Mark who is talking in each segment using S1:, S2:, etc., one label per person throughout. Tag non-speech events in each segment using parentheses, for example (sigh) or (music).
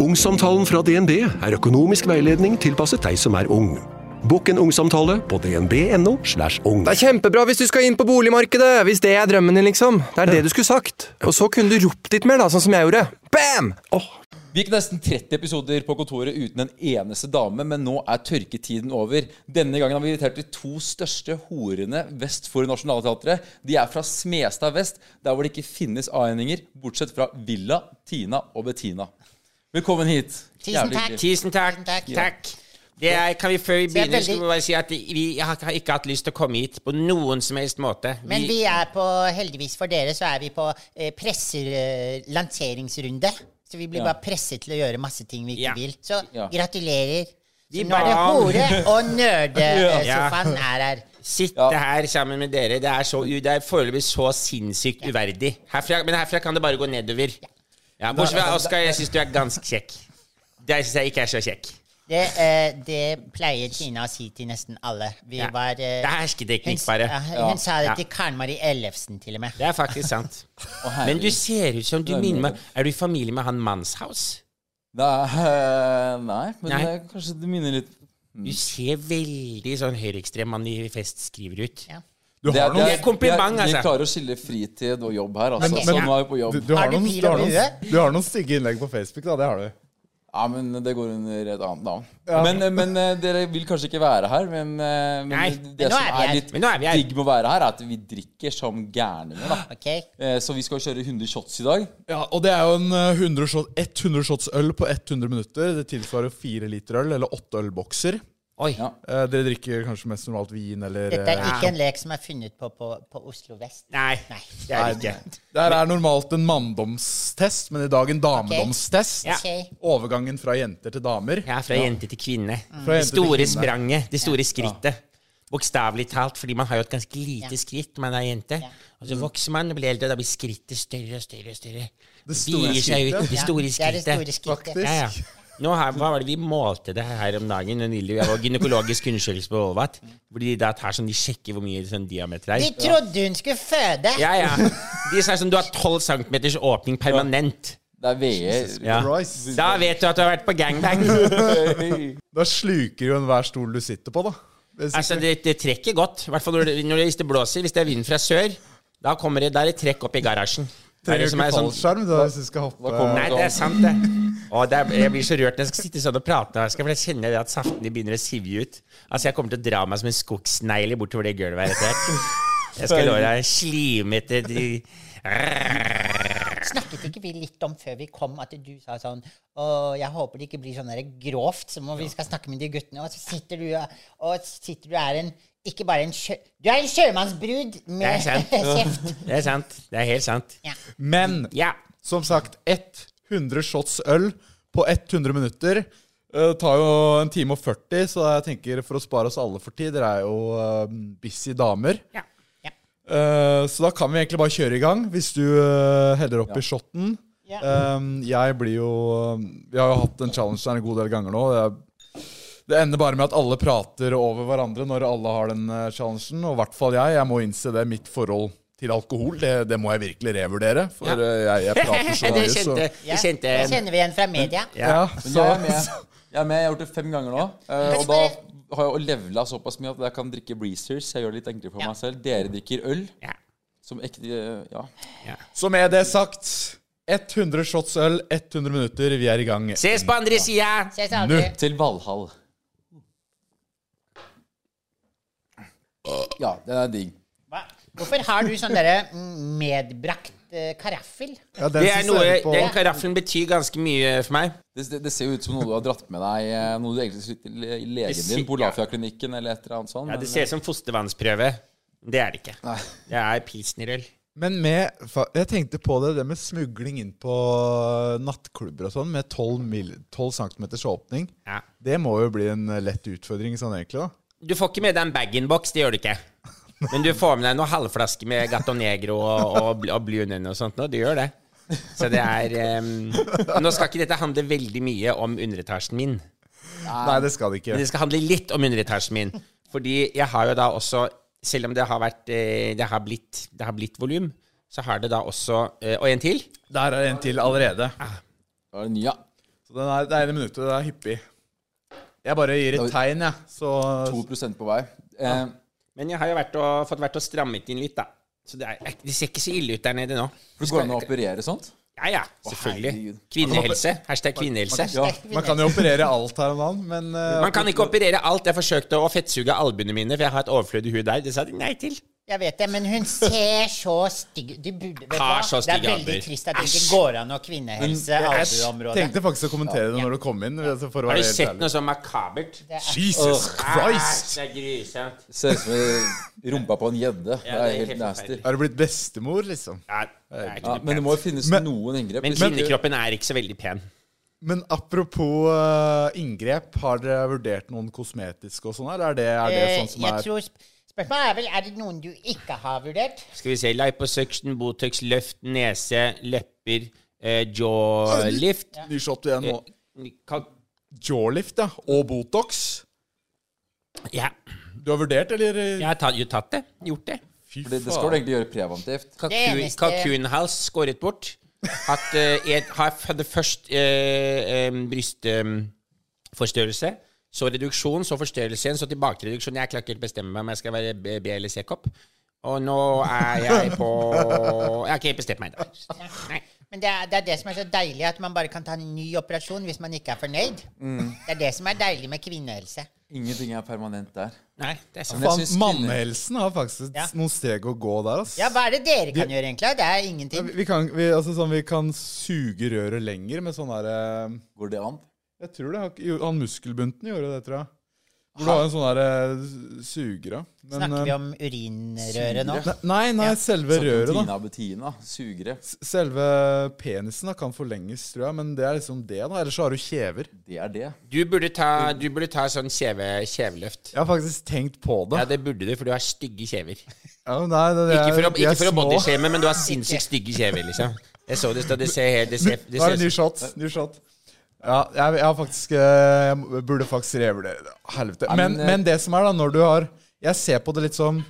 S1: Ungsamtalen fra DNB er økonomisk veiledning tilpasset deg som er ung. Bokk en ungsamtale på dnb.no. slash ung.
S2: Det er kjempebra hvis du skal inn på boligmarkedet! Hvis det er drømmen din, liksom. Det er det du skulle sagt. Og så kunne du ropt litt mer, da, sånn som jeg gjorde. Bam!
S3: Vi gikk nesten 30 episoder på kontoret uten en eneste dame, men nå er tørketiden over. Denne gangen har vi invitert de to største horene vest for Nationaltheatret. De er fra Smestad vest, der hvor det ikke finnes a-endinger, bortsett fra Villa, Tina og Bettina. Velkommen hit.
S4: Tusen
S3: Jævlig
S4: takk.
S3: hyggelig.
S5: Tusen takk. takk. Det er, kan vi Før
S4: Så
S5: vi
S4: jeg er
S5: begynner, skal
S4: veldig-
S5: vi bare si at vi har har ikke hatt lyst til å komme hit på noen som helst måte.
S4: Men vi er på, heldigvis for dere, så er vi på eh, presser, eh, lanseringsrunde. Så vi blir
S3: Ja.
S4: bare presset til å gjøre masse ting vi ikke
S5: Ja.
S4: vil. Så
S3: Ja.
S4: gratulerer.
S5: Vi
S4: Så nå er det
S5: ba om-
S4: hore og
S5: (laughs) Ja.
S4: nerdesofaen er her.
S5: Sitte
S3: Ja.
S5: her sammen med dere, det er, så, u- det er foreløpig så sinnssykt uverdig. Herfra, men herfra kan det bare gå nedover. Ja, Bortsett fra Oskar, jeg syns du er ganske kjekk. Deg syns jeg ikke er så kjekk.
S4: Det, eh, det pleier Tina å si til nesten alle. Vi
S5: Ja.
S4: var eh,
S5: Det er
S4: hun,
S5: hersketeknikk,
S4: s-
S5: bare.
S4: ja, hun sa det
S5: Ja.
S4: til Karen Marie Ellefsen, til og med.
S5: Det er faktisk sant.
S3: Å, herregud.
S5: Men du ser ut som du
S3: Det er
S5: minner meg
S3: mye.
S5: Er du i familie med han Manshaus?
S3: Nei, eh, nei, men
S5: Nei.
S3: Det er, kanskje det minner litt Mm.
S5: Du ser veldig sånn høyreekstrem manifest skriver ut.
S4: Ja.
S6: Du
S3: Det er-
S6: har noen
S5: Det er kompliment,
S3: vi er-
S5: altså.
S3: Vi klarer å skille fritid og jobb her, altså.
S4: Men-
S3: så
S4: men-
S3: nå er vi på jobb.
S6: du, du, har
S4: Er det
S6: noen,
S4: pil
S6: du, har
S4: over
S6: noen,
S4: huet?
S6: du har noen stygge innlegg på Facebook, da. Det har du.
S3: Ja, men det går under et annet navn. Men, men eh, dere vil kanskje ikke være her. Men, eh, men
S5: Nei,
S3: det
S4: men nå
S3: som
S4: er vi
S3: er,
S4: her.
S3: litt
S5: Men nå er vi her.
S3: digg med å være her, er at vi drikker som gærninger. da.
S4: Ok?
S3: Eh, Så vi skal kjøre 100 shots i dag.
S6: Ja, og det er jo en eh, 100 shot, 100 shots øl på 100 minutter. Det tilsvarer fire liter øl, eller åtte ølbokser.
S5: Oi.
S3: Ja.
S6: Eh, dere drikker kanskje mest normalt vin, eller
S4: Dette er
S6: eh,
S4: ikke en lek som er funnet på på, på Oslo vest.
S5: Nei,
S4: Nei.
S5: det er det ikke.
S6: Det her er normalt en manndomstest, men i dag en damedomstest.
S5: Ja.
S4: Ok.
S6: Overgangen fra jenter til damer.
S5: Ja, fra jente til kvinne.
S6: Fra
S5: Det
S6: jente til
S5: store
S6: kvinne.
S5: spranget, det store skrittet. Bokstavelig talt, fordi man har jo et ganske lite
S4: Ja.
S5: skritt når man er jente.
S4: Ja.
S5: Og så vokser man og blir eldre, og da blir skrittet større og større. og større. Det
S6: store
S5: bier seg ut,
S6: skrittet.
S5: det store
S4: Ja, det er det store
S5: skrittet.
S4: skrittet.
S5: Ja, ja. Nå har, hva var det vi målte det her om dagen? Og nylig, jeg var gynekologisk undersøkelse på Volvat. Hvor de da tar sånn, de sjekker hvor mye sånn diameter
S4: De
S5: er.
S4: trodde hun skulle føde!
S5: Ja, ja. De sa sånn, du har 12 centimeters åpning permanent.
S3: Det er E. VE. (laughs)
S5: Ja.
S6: Christ.
S5: Da vet du at du har vært på gangbang.
S4: (laughs)
S5: (laughs)
S6: Da sluker jo enhver stol du sitter på, da. Hvis
S5: Altså,
S6: ikke-
S5: det, det trekker godt. I hvert fall når det, når det, hvis det blåser. Hvis det er vind fra sør, da kommer det, da er det trekk opp i garasjen. Det er
S6: Trenger
S5: det
S6: jo
S5: som
S6: ikke
S5: er sånn,
S6: fallskjerm da, hvis du skal hoppe.
S3: da kommer-
S5: nei, det er sant, det. Å, det er, jeg blir så rørt når jeg skal sitte sånn og prate. med deg, Oskar, For jeg kjenner det at saftene begynner å sive ut. Altså, Jeg kommer til å dra meg som en skogsnegle bortover det gulvet her etter hvert. Jeg skal love deg slimete de,
S4: Snakket ikke vi litt om før vi kom, at du sa sånn Å, jeg håper det ikke blir sånn der grovt som om vi skal snakke med de guttene, og så sitter du og sitter du er en Ikke bare en sjø... Du er en sjømannsbrud
S5: Det er
S4: med (laughs)
S5: sant.
S4: kjeft!
S5: Det er sant. Det er helt sant.
S4: Ja.
S6: Men
S5: Ja.
S6: som sagt, 100 shots øl på 100 minutter eh, tar jo en time og 40, så jeg tenker for å spare oss alle for tid, dere er jo eh, busy damer.
S5: Ja.
S4: Ja.
S6: Eh, så da kan vi egentlig bare kjøre i gang, hvis du eh, heller opp i shotten.
S4: Ja.
S6: Eh, jeg blir jo Vi har jo hatt den challengen her en god del ganger nå. Jeg, det ender bare med at alle prater over hverandre når alle har den eh, challengen. Og i hvert fall jeg. Jeg må innse det. Mitt forhold til alkohol, det, det må jeg virkelig revurdere. For
S5: Ja.
S6: eh, jeg, jeg prater
S5: (laughs) Det
S6: så mye, så
S5: kjente,
S4: Ja,
S5: det kjente
S4: Det kjenner vi igjen fra media.
S6: ja,
S3: Men
S6: så,
S3: jeg er med. Jeg er med, jeg har gjort det fem ganger nå. eh, Og da har jeg jo levela såpass mye at jeg kan drikke Breezers. Jeg gjør det litt enklere for
S4: Ja.
S3: meg selv. Dere drikker øl.
S5: Ja.
S3: Som ekte Ja.
S6: så med det sagt 100 shots øl, 100 minutter. Vi er i gang.
S5: Ses på andre sida!
S4: Ses aldri.
S3: Til Valhall. Ja, den er digg.
S4: Hva? Hvorfor har du sånn derre mm, medbrakt eh, karaffel?
S6: Ja, den
S5: Det
S6: som
S5: er noe,
S6: ser på-
S5: Den karaffelen betyr ganske mye for meg.
S3: Det, det, det ser jo ut som noe du har dratt med deg, eh, noe du egentlig skulle til le- legen
S5: ser-
S3: din på Olafia-klinikken eller et eller annet sånt.
S5: Ja, Det
S3: men-
S5: ser ut som fostervannsprøve. Det er det ikke. Det er pilsnerøl.
S6: Men med, fa- jeg tenkte på det, det med smugling inn på nattklubber og sånn, med 12, mil, 12 cm åpning.
S5: Ja.
S6: Det må jo bli en lett utfordring sånn egentlig, da.
S5: Du får ikke med deg en bag-in-box, det gjør du ikke. Men du får med deg noen halvflasker med Gato Negro og, og, bl- og Blue Nun og sånt. nå, Du gjør det. Så det er ehm, Nå skal ikke dette handle veldig mye om underetasjen min,
S6: Nei, det skal det ikke.
S5: men det skal handle litt om underetasjen min. Fordi jeg har jo da også, selv om det har, vært, eh, det har blitt, det har blitt volum, så har det da også eh, Og en til.
S6: Der er en til allerede.
S3: Ja, det eh, er ny, ja.
S6: Så den er, det ene minuttet det er hyppig. Jeg bare gir et tegn, jeg. Så
S3: 2 på vei. Eh,
S5: Men jeg har jo vært og, fått vært og strammet inn litt, da. Så det, er, det ser ikke så ille ut der nede nå.
S3: for det går an å operere sånt?
S5: Ja, ja, selvfølgelig.
S3: herregud.
S5: Kvinnehelse. Hashtag kvinnehelse.
S3: Ja.
S6: man kan jo operere alt her om dagen, men eh,
S5: Man kan ikke operere alt. Jeg forsøkte å fettsuge albuene mine, for jeg har et overflødig hud der. Det sa de nei til.
S4: Jeg vet det, men hun ser så stygg ut. Du burde- vet du
S5: Har
S4: hva?
S5: så
S4: Det er
S5: stygge
S4: veldig
S5: albuer.
S4: trist at det ikke går an å kvinnehelse albueområdet.
S6: tenkte faktisk å kommentere det når du kom inn. altså, For å
S5: Har
S6: være
S5: du
S6: helt
S5: sett
S6: ærlig.
S5: noe så makabert?
S6: Jesus Christ!
S5: Æsj, det er grusomt.
S3: Ser ut som eh, rumpa på en gjedde. Det
S5: Ja,
S3: er helt nasty.
S5: forferdelig.
S6: Er du blitt bestemor, liksom?
S5: Ja, det er ikke
S3: Ja,
S5: noe
S3: men det
S5: pent.
S3: må jo finnes
S6: Men-
S3: noen inngrep.
S5: Men
S3: hvis ikke-
S5: kvinnekroppen er ikke så veldig pen.
S6: Men apropos eh, inngrep, har dere vurdert noen kosmetiske og sånn her? Er det, er det sånn som
S4: Eh, Jeg
S6: er
S4: tror sp- Spørsmålet er vel er det noen du ikke har vurdert?
S5: Skal vi se. Liposuction, Botox, løft, nese, lepper, eh, jaw lift
S6: Ny shot igjen nå.
S4: Eh.
S5: Kan-
S6: Jawlift, ja. Og Botox.
S5: Ja,
S6: Du har vurdert, eller?
S5: jeg har tatt, jo tatt det. Gjort det.
S6: Fy
S3: Fordi det skal du egentlig gjøre preventivt.
S5: Kalkun,
S4: eneste-
S5: kalkunhals skåret bort. At eh, jeg har- hadde først eh, brystforstørrelse, så reduksjon, så forstørrelse igjen, så tilbake til reduksjon. Jeg klarer ikke helt bestemme meg om jeg skal være B- B- eller C-kopp. Og nå er jeg på Jeg har ikke helt bestemt meg ennå. Nei.
S4: Men det er, det er det som er så deilig, at man bare kan ta en ny operasjon hvis man ikke er fornøyd.
S6: Mm.
S4: Det er det som er deilig med kvinnehelse.
S3: Ingenting er permanent der.
S5: Nei, det er sant.
S3: Men jeg
S6: Faen,
S3: synes kvinner-
S6: Mannhelsen har faktisk
S4: Ja.
S6: noen steg å gå der, ass.
S4: Ja, hva er det dere kan gjøre, egentlig? Det er ingenting.
S6: Vi, vi, kan, vi, altså, sånn, vi kan suge røret lenger med sånn derre
S3: Går det an?
S6: Jeg tror det har ikke- jo, Han muskelbunten gjorde det, tror jeg. Hvor du har en sånn derre sugere.
S4: Snakker vi om urinrøret nå?
S6: eh, Nei, nei, selve røret, da.
S3: Tina Bettina. Sugere.
S6: S- Selve penisen da, kan forlenges, tror jeg, men det er liksom det, da. Ellers så har du kjever.
S3: Det er det.
S5: Du burde ta, du burde ta sånn kjeve, kjeveløft.
S6: Jeg har faktisk tenkt på det.
S5: Ja, det burde du, for du har stygge kjever.
S6: Ja, men nei, det, det er,
S5: Ikke for å,
S6: de er
S5: ikke for å
S6: små.
S5: bodyshame, men du har sinnssykt stygge kjever, liksom. Jeg så det i stad. Det ser helt Det ser, det
S6: Nå er
S5: ser
S6: det ny shot. Ny shot. Ja, jeg, jeg har faktisk eh, Jeg burde faktisk revurdere det. Helvete.
S3: Nei, men,
S6: Men,
S3: eh,
S6: men det som er, da, når du har Jeg ser på det litt som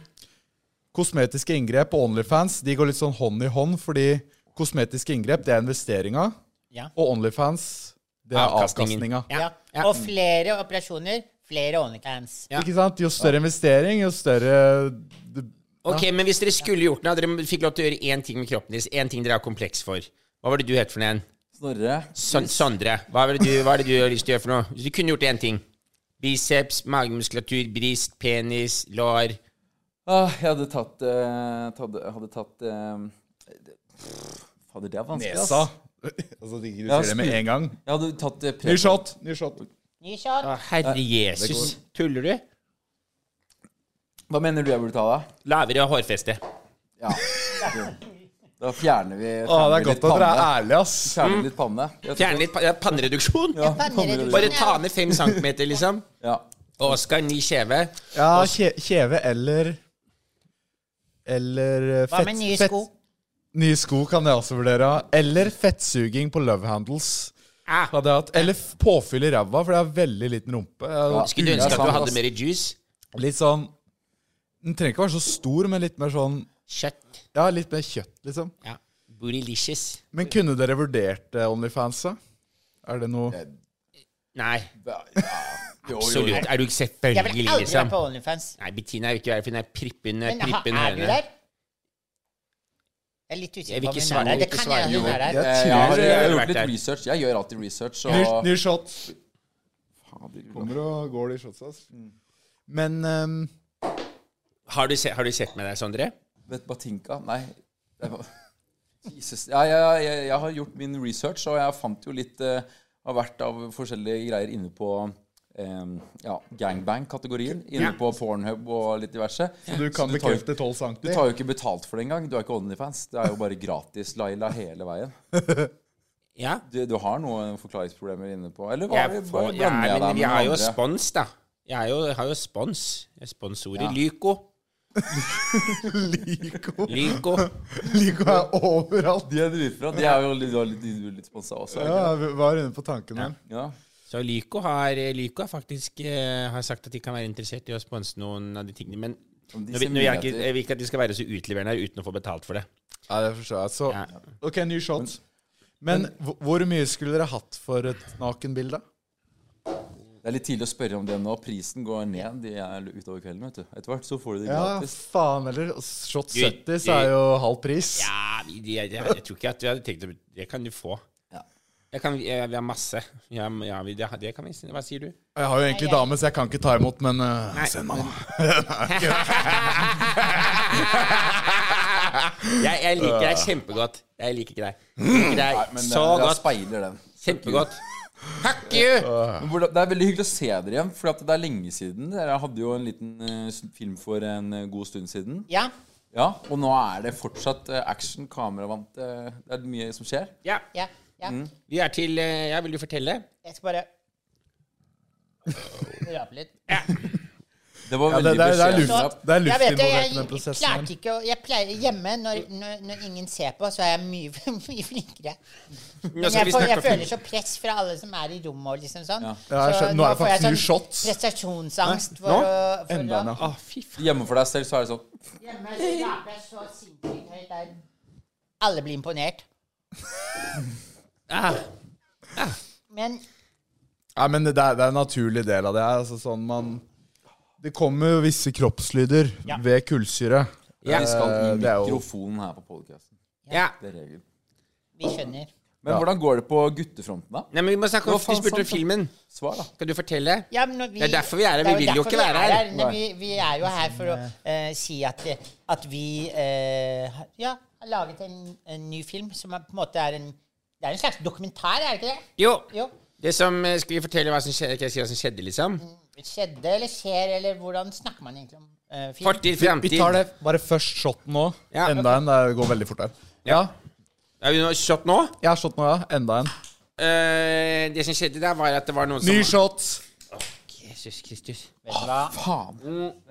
S6: Kosmetiske inngrep og Onlyfans De går litt sånn hånd i hånd, fordi kosmetiske inngrep, det er investeringa,
S4: Ja.
S6: og Onlyfans, det er
S5: Avkastningen.
S6: avkastninga.
S4: Ja.
S5: Ja.
S4: Og flere operasjoner, flere OnlyFans.
S5: Ja.
S6: Ikke sant? Jo større investering, jo større det-
S5: Ok, men hvis dere skulle gjort noe, dere fikk lov til å gjøre én ting med kroppen deres, én ting dere har kompleks for. Hva var det du het for noe igjen?
S3: Snorre.
S5: Son- Sondre. Hva var det du, hva er det du har lyst til å gjøre for noe? Hvis du kunne gjort én ting. Biceps, magemuskulatur, brist, penis, lår.
S3: Ah, jeg hadde tatt eh, tatt- hadde tatt eh, det- Fader, det er vanskelig, ass.
S6: Nesa. (laughs) altså, de du
S3: Ja,
S6: sier det med
S3: spu-
S6: en gang.
S3: Jeg hadde tatt eh, pre-
S6: Ny shot. Ny shot.
S4: Ny shot.
S5: Å, Herre Jesus. Tuller du?
S3: Hva mener du jeg burde ta, da?
S5: Lavere hårfeste.
S3: Ja. Da fjerner vi
S6: Å, Ah. Mm. det er
S3: fjerner litt
S6: godt at dere er
S3: panne.
S6: ærlige, ass.
S3: Fjerner litt panne. Jeg tror-
S5: Fjerne litt pa- ja, pannereduksjon.
S3: Ja,
S4: Pannereduksjon,
S5: Bare
S4: ja.
S5: ta ned fem centimeter, liksom.
S3: Ja.
S5: Oskar, ny kjeve.
S6: Ja, kje, kjeve eller Eller eh, fett,
S4: Hva med nye
S6: fett-
S4: sko?
S6: Nye sko kan jeg også vurdere. Eller fettsuging på love handles.
S5: Ah.
S6: Hadde jeg hatt. Eller f- påfyll i ræva, for jeg har veldig liten rumpe. Jeg,
S5: Skulle du
S3: det er
S5: ønske at
S3: sant,
S5: du hadde
S3: ass.
S5: mer juice?
S6: litt sånn Den trenger ikke være så stor, men litt mer sånn
S5: Kjøtt.
S6: Ja, litt mer kjøtt, liksom.
S5: Ja. Bootylicious.
S6: Men kunne dere vurdert eh, Onlyfans, da? Er det noe
S5: Nei,
S3: Ja, ja. Jo, jo, jo.
S5: absolutt. Er du ikke
S4: Jeg vil aldri
S5: selvfølgelig,
S4: være
S5: liksom?
S4: på OnlyFans.
S5: Nei, Bettina er jo ikke verre, for hun er prippen,
S4: Men ha,
S5: prippen
S4: er du
S5: høne.
S4: der? Jeg er litt
S5: Jeg
S4: usikker på
S5: vil
S4: om
S5: ikke
S4: hun
S5: svare,
S4: er der.
S5: jeg vil
S4: Det
S5: ikke
S4: kan
S5: svare.
S4: hende hun
S5: Jo.
S4: er der.
S6: Jeg
S3: Eh, Jeg har
S6: tror
S3: jeg har
S5: Vært
S3: gjort litt
S5: der.
S3: research. Jeg gjør alltid research.
S6: Ny,
S3: Og
S6: ny shot. Kommer og går, de shotsa. ass. Men ehm,
S5: Har du, se, har du sett med deg, Sondre?
S3: Vet Batinka? Nei. det var- Jesus. Ja, jeg, jeg, jeg har gjort min research, og jeg fant jo litt eh, av hvert av forskjellige greier inne på eh, ja, gangbang-kategorien. Inne på Pornhub og litt diverse.
S6: du kan
S3: Så tar jo-
S6: bekrefte 12 cm.
S3: Du (laughs) tar jo ikke betalt for det engang. Du er ikke Onlyfans. Det er jo bare gratis, Laila, hele veien.
S5: Ja.
S3: Du, du har noen forklaringsproblemer inne på Eller hva
S5: Jeg
S3: hva
S5: får, ja,
S3: blander jeg
S5: men
S3: deg
S5: vi
S3: med
S5: har jo
S3: noen andre?
S5: spons, da. Jeg har jo, har jo spons. Jeg er Sponsor i
S3: Ja.
S5: (laughs) Lyco.
S6: Lico.
S5: Lyco.
S6: Lico er overalt.
S3: De er dritbra. De er jo litt, de er litt, de er litt sponsa også.
S6: Ja,
S3: Ja.
S6: jeg var inne på tanken her.
S3: Ja.
S5: Så Lyco har, Lyco har faktisk eh, har sagt at de kan være interessert i å sponse noen av de tingene. Men
S3: Om de
S5: nå,
S3: ser
S5: vil- nå, vil jeg, ikke,
S3: muligheter.
S5: jeg vil ikke at de skal være så utleverende her uten å få betalt for det.
S6: Nei, det forstår jeg. Så
S5: Ja.
S6: OK, ny shot. Men hvor- hvor mye skulle dere hatt for et nakenbilde?
S3: Det er litt tidlig å spørre om det nå. Prisen går ned de er utover kvelden. vet du. Etter hvert så får du det
S6: Ja,
S3: gratis.
S6: faen heller. Shot
S5: Du-
S6: 70
S5: du-
S6: så er jo halv pris.
S5: Ja, jeg, jeg, jeg, jeg tror ikke at vi hadde tenkt å Det kan du få.
S3: Ja.
S5: Jeg kan, jeg, vi har masse. Ja, men- ja, vi, det, det kan vi si. Hva sier du?
S6: Jeg har jo egentlig dame, så jeg kan ikke ta imot, men øh, send meg, da.
S5: (laughs) Jeg, jeg liker deg kjempegodt. Jeg liker ikke deg. Jeg liker deg
S3: Men
S5: så
S3: eh, jeg
S5: godt.
S3: speiler den.
S5: Kjempegodt. Fuck you!
S3: Men hvordan- Det er veldig hyggelig å se dere igjen, for at det er lenge siden. Dere hadde jo en liten eh, s- film for en eh, god stund siden.
S4: Ja.
S3: Ja, Og nå er det fortsatt eh, action, kameravant eh, Det er mye som skjer.
S5: Ja,
S4: Ja. ja.
S6: Mm.
S5: vi er til eh, Ja, vil du fortelle?
S4: Jeg skal bare Rape litt.
S3: Det var
S6: Ja, det,
S3: veldig
S6: det, er, det er
S3: beskjedent.
S6: luft, det er
S4: Jeg
S6: luft
S4: vet det,
S6: involvert i den
S4: jeg
S6: prosessen. her.
S4: klarte ikke å Jeg pleier hjemme, når, når, når ingen ser på, så er jeg mye, (laughs) mye flinkere.
S5: Nå
S4: Men
S5: skal
S4: jeg,
S5: vi
S4: får, jeg
S5: snakke om
S4: føler så press fra alle som er i rommet og liksom sånn.
S3: Ja.
S6: Ja, jeg
S4: Så
S6: skjønner. Nå er det
S4: får jeg sånn
S6: faktisk nye shots.
S4: Prestasjonsangst
S5: Nå?
S4: for å for
S6: Enda
S4: å-
S6: en, ja.
S5: Å, fy faen.
S3: Hjemme for deg selv så er det sånn
S4: Hjemme så raper jeg så sinnssykt høyt der. Alle blir imponert.
S5: Ah,
S4: Men
S6: Nei, men det, det er, det er en naturlig del av det her. Altså, sånn man Det kommer jo visse kroppslyder ved kullsyre.
S5: Ja.
S3: Vi skal i
S6: Eh, det er jo-
S3: mikrofonen her på podcasten.
S5: ja.
S3: Det er regelen.
S4: vi skjønner.
S3: Men hvordan går det på guttefronten, da?
S5: Nei, men vi må snakke
S3: Hva
S5: om Du
S3: faen, sant,
S4: sånn-
S5: spurte om
S3: sant.
S5: filmen.
S3: Svar, da.
S5: Skal du fortelle?
S4: Ja, men når vi,
S5: Det er derfor vi er her. Vi
S4: det er jo
S5: vil jo
S4: derfor
S5: ikke
S4: vi
S5: være
S4: er
S5: her.
S4: Nei, Vi, vi er jo her for å eh, si at, eh, at vi eh, har- ja, har laget en, en ny film som er, på en måte er en Det er en slags dokumentar, er det ikke det?
S5: Jo.
S4: Jo.
S5: Det som, eh, skal vi fortelle hva som skjedde, skal jeg si hva som skjedde liksom?
S4: Skjedde eller skjer, eller hvordan snakker man egentlig om eh, film?
S5: Fortid,
S6: Vi, vi
S5: fremtid.
S6: tar det bare først shoten nå.
S5: Ja.
S6: Enda en. Det går veldig fort her.
S5: Ja. Er vi nå shot nå?
S6: Ja, shot nå, ja. Enda en.
S5: Eh, det som skjedde der, var at det var noen som
S6: Ny shot.
S5: Jesus Kristus.
S4: Vet du hva?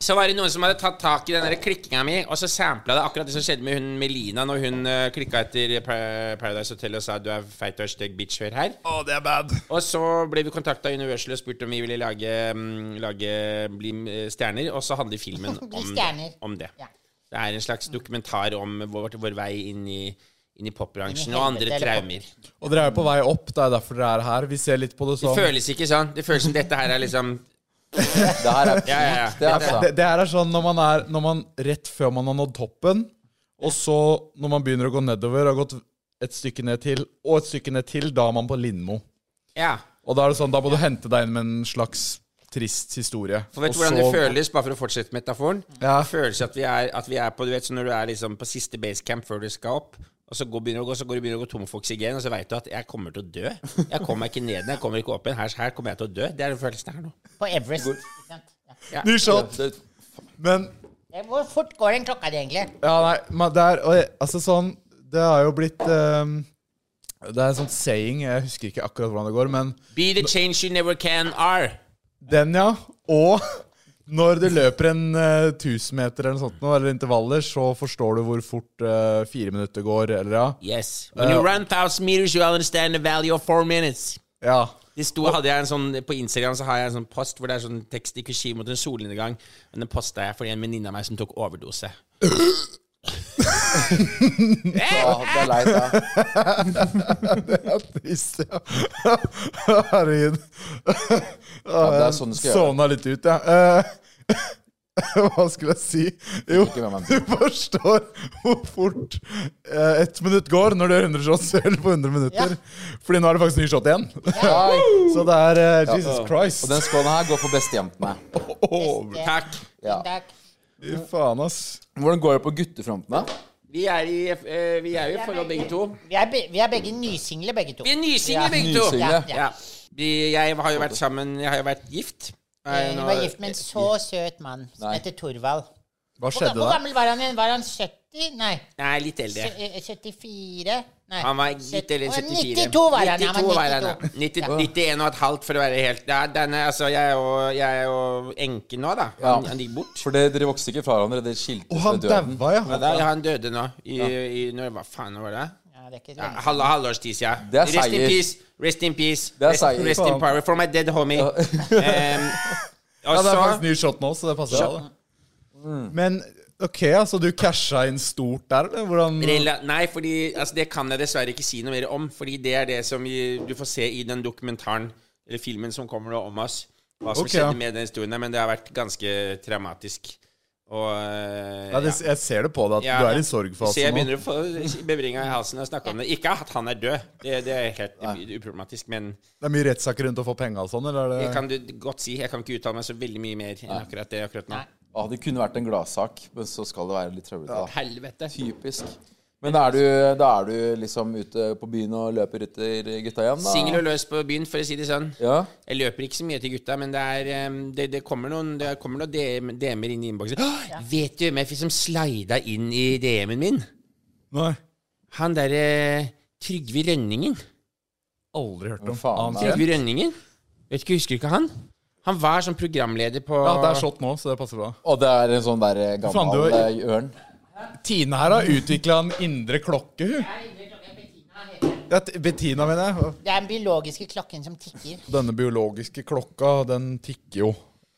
S5: Så var det noen som hadde tatt tak i den der klikkinga mi, og så sampla det akkurat det som skjedde med hun Melina når hun uh, klikka etter Pa- Paradise Hotel og sa 'du er feit og stygg bitch, hør her'.
S6: Å, det er bad.
S5: Og så ble vi kontakta av Universal og spurt om vi ville lage, mm, lage bli eh, stjerner, og så handler
S4: (laughs)
S5: filmen
S4: Bli
S5: om,
S4: stjerner.
S5: om det.
S4: Ja.
S5: Det er en slags dokumentar om vår, vår vei inn i, inn i popbransjen
S4: Inn i
S5: og andre
S4: helvete, eller
S5: traumer.
S6: Og dere er jo på vei opp. Det er derfor dere er her. Vi ser litt på det
S5: Det
S6: sånn.
S5: føles ikke sånn. Det føles som dette her er liksom
S3: Det her er
S5: Ja, ja, ja.
S3: (laughs) Det er
S5: Dette-
S3: bra.
S6: det, det her er sånn når man er når man, rett før man har nådd toppen, og så når man begynner å gå nedover, har gått et stykke ned til, og et stykke ned til, da er man på Lindmo.
S5: Ja.
S6: Og da er det sånn, da må du hente deg inn med en slags trist historie.
S5: For vet du
S6: Og
S5: hvordan det
S6: så-
S5: føles, bare for å fortsette metaforen?
S6: Ja.
S5: Det føles at vi er, at vi er på du vet, så når du er liksom på siste basecamp før du skal opp, og så går, begynner, du å gå, så går du begynner å gå tom for oksygen, og så veit du at 'jeg kommer til å dø'. Jeg kommer meg ikke ned igjen, jeg kommer ikke opp igjen. Her, her kommer jeg til å dø. Det er den følelsen her nå.
S4: På Everest. ikke sant? Ja.
S6: Ny shot!
S3: Det,
S6: Men
S4: Eh, Hvor fort går den klokka di, egentlig?
S6: Ja, nei, men det er og jeg- Altså sånn Det har jo blitt ehm, Det er en sånn saying, jeg husker ikke akkurat hvordan det går, men
S5: Be the change you never can are.
S6: Den, ja. Og (laughs) når du løper en eh, 1000 meter eller noe sånt, nå, eller intervaller, så forstår du hvor fort eh, fire minutter går, eller ja.
S5: Yes. When you run 1000 meters, you understand the value of four minutes.
S6: Ja.
S5: Det sto, hadde jeg en sånn, På Instagram så har jeg en sånn post hvor det er sånn tekst i kursiv mot en solnedgang. Men den posta jeg fordi en venninne av meg som tok overdose.
S3: ja, det er leit, ja.
S6: Trist, ja. Herregud.
S3: ja. Det er sånn du skal gjøre det.
S6: Sovna litt ut, ja. Eh, (laughs) hva skulle jeg si? Jo,
S3: Ikke med meg.
S6: du forstår hvor fort eh, ett minutt går når du gjør 100 shots selv på 100 minutter. Fordi nå er det faktisk ny shot igjen. (laughs) Så det er eh, Jesus Christ.
S3: Og den skålen her går for bestejentene.
S6: Åh,
S4: Neste.
S5: Takk.
S3: Ja.
S4: Takk.
S6: fy faen, ass.
S3: Hvordan går det på guttefronten, da?
S5: Vi er, i, eh, vi er jo i forhold begge to.
S4: Vi er, be vi er begge nysingle, begge to.
S5: Vi er nysingle
S4: Ja.
S5: begge to.
S3: Nysingle.
S4: Ja, ja.
S5: Ja. Vi, jeg har jo vært sammen Jeg har jo vært gift.
S4: Eh, Hun var gift med en så søt mann som
S3: Nei.
S4: heter Torvald.
S6: Hva
S4: Hvor,
S6: skjedde
S4: hvor
S6: da?
S4: gammel var han igjen? Var han 70? Nei.
S5: Nei, litt eldre.
S4: sø- eh, 74? Nei.
S5: Han var gitt eller
S4: Å,
S5: 74.
S4: 92 var han. Han
S5: 92
S4: var
S5: var han, ja.
S4: 92.
S5: 90, 91 og et halvt, for å være helt ja, den er, altså, Jeg er jo, jeg er jo enke nå, da. Han,
S3: Ja.
S5: han gikk bort.
S3: For det, dere vokste ikke fra hverandre. Dere skiltes
S6: Å, han
S3: ved døden.
S6: daua, ja.
S5: Ja, da, han døde nå. I, i, når, hva faen var det?
S4: Ja, det er ikke
S5: Ja,
S4: lenge.
S5: halv, halvårs tid siden.
S3: Det er
S5: rest in
S3: seier.
S5: peace. Rest in peace.
S3: Det er
S5: rest,
S3: seier.
S5: rest in power for my dead homie. (laughs) Em, og
S6: Ja, det er
S5: så
S3: Mm.
S6: faktisk ny shot nå, så det passer bra, det. Men Ok, altså du casha inn stort der, eller? Hvordan
S5: Rela nei, fordi altså, det kan jeg dessverre ikke si noe mer om. Fordi det er det som vi, du får se i den dokumentaren, eller filmen som kommer nå om oss, hva som
S6: Ok, ja.
S5: skjedde med den historien der. Men det har vært ganske traumatisk. Og eh,
S6: Nei, det,
S5: ja.
S6: jeg ser det på deg at
S5: Ja,
S6: du
S5: ja.
S6: er i
S5: Så jeg
S6: sorgfasen nå.
S5: begynner å få bevringa i halsen når jeg snakker om det. Ikke at han er død, det, det er helt uproblematisk, men
S6: Det er mye rettssaker rundt å få penga og sånn, eller
S5: det
S6: er det
S5: kan du godt si. Jeg kan ikke uttale meg så veldig mye mer enn akkurat det akkurat nå.
S4: Nei.
S3: Ah, det kunne vært en gladsak, men så skal det være litt trøblete. da.
S5: Helvete.
S3: Typisk. Men da er, du, da er du liksom ute på byen og løper etter gutta igjen, da?
S5: Singel og løs på byen, for å si det sånn.
S3: Ja.
S5: Jeg løper ikke så mye til gutta, men det, er, em, det, det kommer noen, det kommer noen DM, DM-er inn i innboksen. «Åh, Vet du hvem jeg fikk som slida inn i DM-en min?
S6: Nei.
S5: Han derre Trygve Rønningen.
S6: Aldri hørt om.
S3: Hva faen
S6: Aner
S3: er
S6: ikke.
S5: Trygve Rønningen? Vet ikke, Husker du ikke han? Han var som programleder på
S6: Ja, det er slått nå, så det passer bra.
S3: Og det er en sånn der eh,
S6: Faen, du
S3: gammel
S6: har-
S3: eh, ørn.
S6: Tine her har utvikla en indre klokke, hun. Ja, T- Bettina, mener jeg.
S4: Det er den biologiske klokken som tikker.
S6: Denne biologiske klokka, den tikker jo.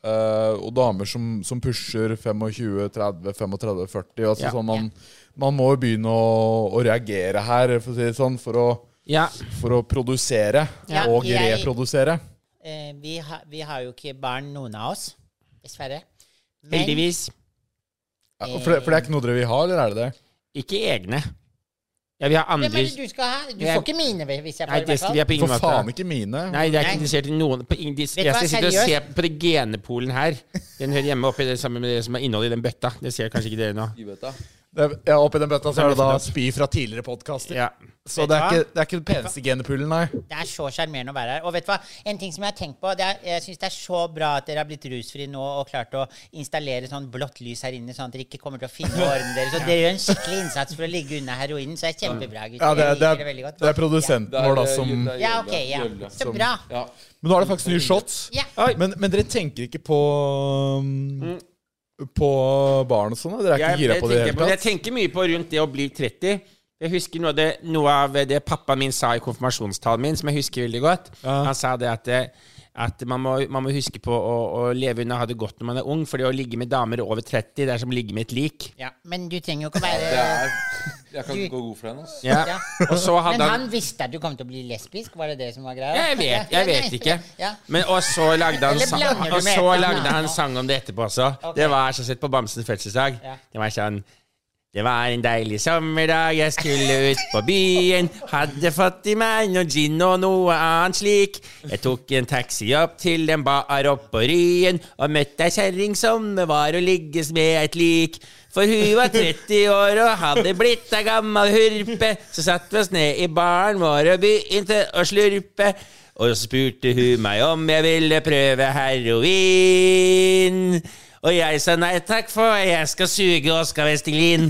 S6: Eh, og damer som, som pusher 25, 30, 35, 40 altså
S5: Ja.
S6: sånn man, man må jo begynne å, å reagere her, for å si det sånn, for å,
S5: Ja.
S6: for å produsere.
S4: Ja,
S6: og
S4: jeg-
S6: reprodusere.
S4: Eh, vi, har- vi har jo ikke barn, noen av oss. Dessverre. Men-
S5: Heldigvis.
S6: Ja, for, det, for det er ikke noe dere vil ha, eller er det det?
S5: Ikke egne. Ja, vi har
S4: Hvem er det
S5: andres
S4: du skal ha? Du
S5: Jeg-
S4: får ikke mine, hvis jeg får
S5: Nei,
S4: det, i
S5: det
S4: hvert
S5: skal
S4: fall.
S5: vi ha på ingen
S6: For
S5: måte.
S6: faen ikke mine.
S5: Nei, det er
S4: Nei.
S5: ikke interessert i noen på ingen, de,
S4: du
S5: Jeg
S4: hva,
S5: skal sitte og se
S4: seriøst?
S5: på det genepolen her. Den hører hjemme oppi det samme med det som er innholdet i den bøtta. Det ser kanskje ikke dere nå.
S3: Ubøtta.
S6: Det er, ja, oppi den bøtta så er det da spy fra tidligere podkaster.
S5: Ja.
S6: Så det er ikke, det er ikke den peneste genepullen, nei.
S4: Det er så sjarmerende å være her. Og vet du hva, en ting som jeg har tenkt på det er, Jeg syns det er så bra at dere har blitt rusfri nå og klart å installere sånn blått lys her inne, sånn at dere ikke kommer til å finne årene deres. Og dere gjør en skikkelig innsats for å ligge unna heroinen, så det er kjempebra, gutter.
S6: Ja, det er,
S4: Jeg
S6: det
S4: liker
S6: er,
S4: veldig godt.
S6: det er produsenten vår da
S3: eh,
S6: som
S3: Jølle-
S6: Men
S3: Jølle-
S4: Ja, ok, ja.
S3: Jølle.
S4: Så bra.
S3: Ja.
S6: nå er det faktisk nye shots.
S4: Ja.
S5: Oi.
S6: Men, men dere tenker ikke på um, På barn og sånn? da? Dere er
S5: Jeg,
S6: ikke gira
S5: jeg
S6: på det i
S5: tenker
S6: det
S5: på,
S6: hele
S5: jeg
S6: tatt?
S5: tenker mye på rundt det å bli 30. Jeg husker noe av det, noe av det pappa min sa i konfirmasjonstalen min, som jeg husker veldig godt.
S6: Ja.
S5: Han sa det at, eh, at man, må, man må huske på å, å leve unna ha det godt når man er ung, fordi å ligge med damer over 30, det er som å ligge med et lik.
S4: ja. Men du trenger jo ikke å være
S3: Det er Jeg kan
S4: Du-
S3: ikke gå god for den, altså.
S5: Ja.
S4: Ja.
S5: Og så hadde
S4: Men han visste at du kom til å bli lesbisk, var det det som var greia?
S5: Jeg vet, jeg vet ikke.
S4: Ja.
S5: Men, og så lagde han,
S4: Eller
S5: sang,
S4: blander du
S5: og
S4: med
S5: så
S4: et
S5: lagde
S4: eller
S5: han
S4: annet?
S5: sang om det etterpå også.
S4: Ok.
S5: Det var så sett på Bamsens fødselsdag.
S4: Ja.
S5: Det var sånn Det var en deilig sommerdag, jeg skulle ut på byen. Hadde fått i meg noe gin og noe annet slik. Jeg tok en taxi opp til en bar oppå Ryen og møtte ei kjerring som det var å ligges med et lik. For hun var 30 år og hadde blitt ei gammal hurpe. Så satt vi oss ned i baren vår og begynte å slurpe. Og så spurte hun meg om jeg ville prøve heroin. Og jeg sa nei takk, for jeg skal suge Oskar Vestinglin.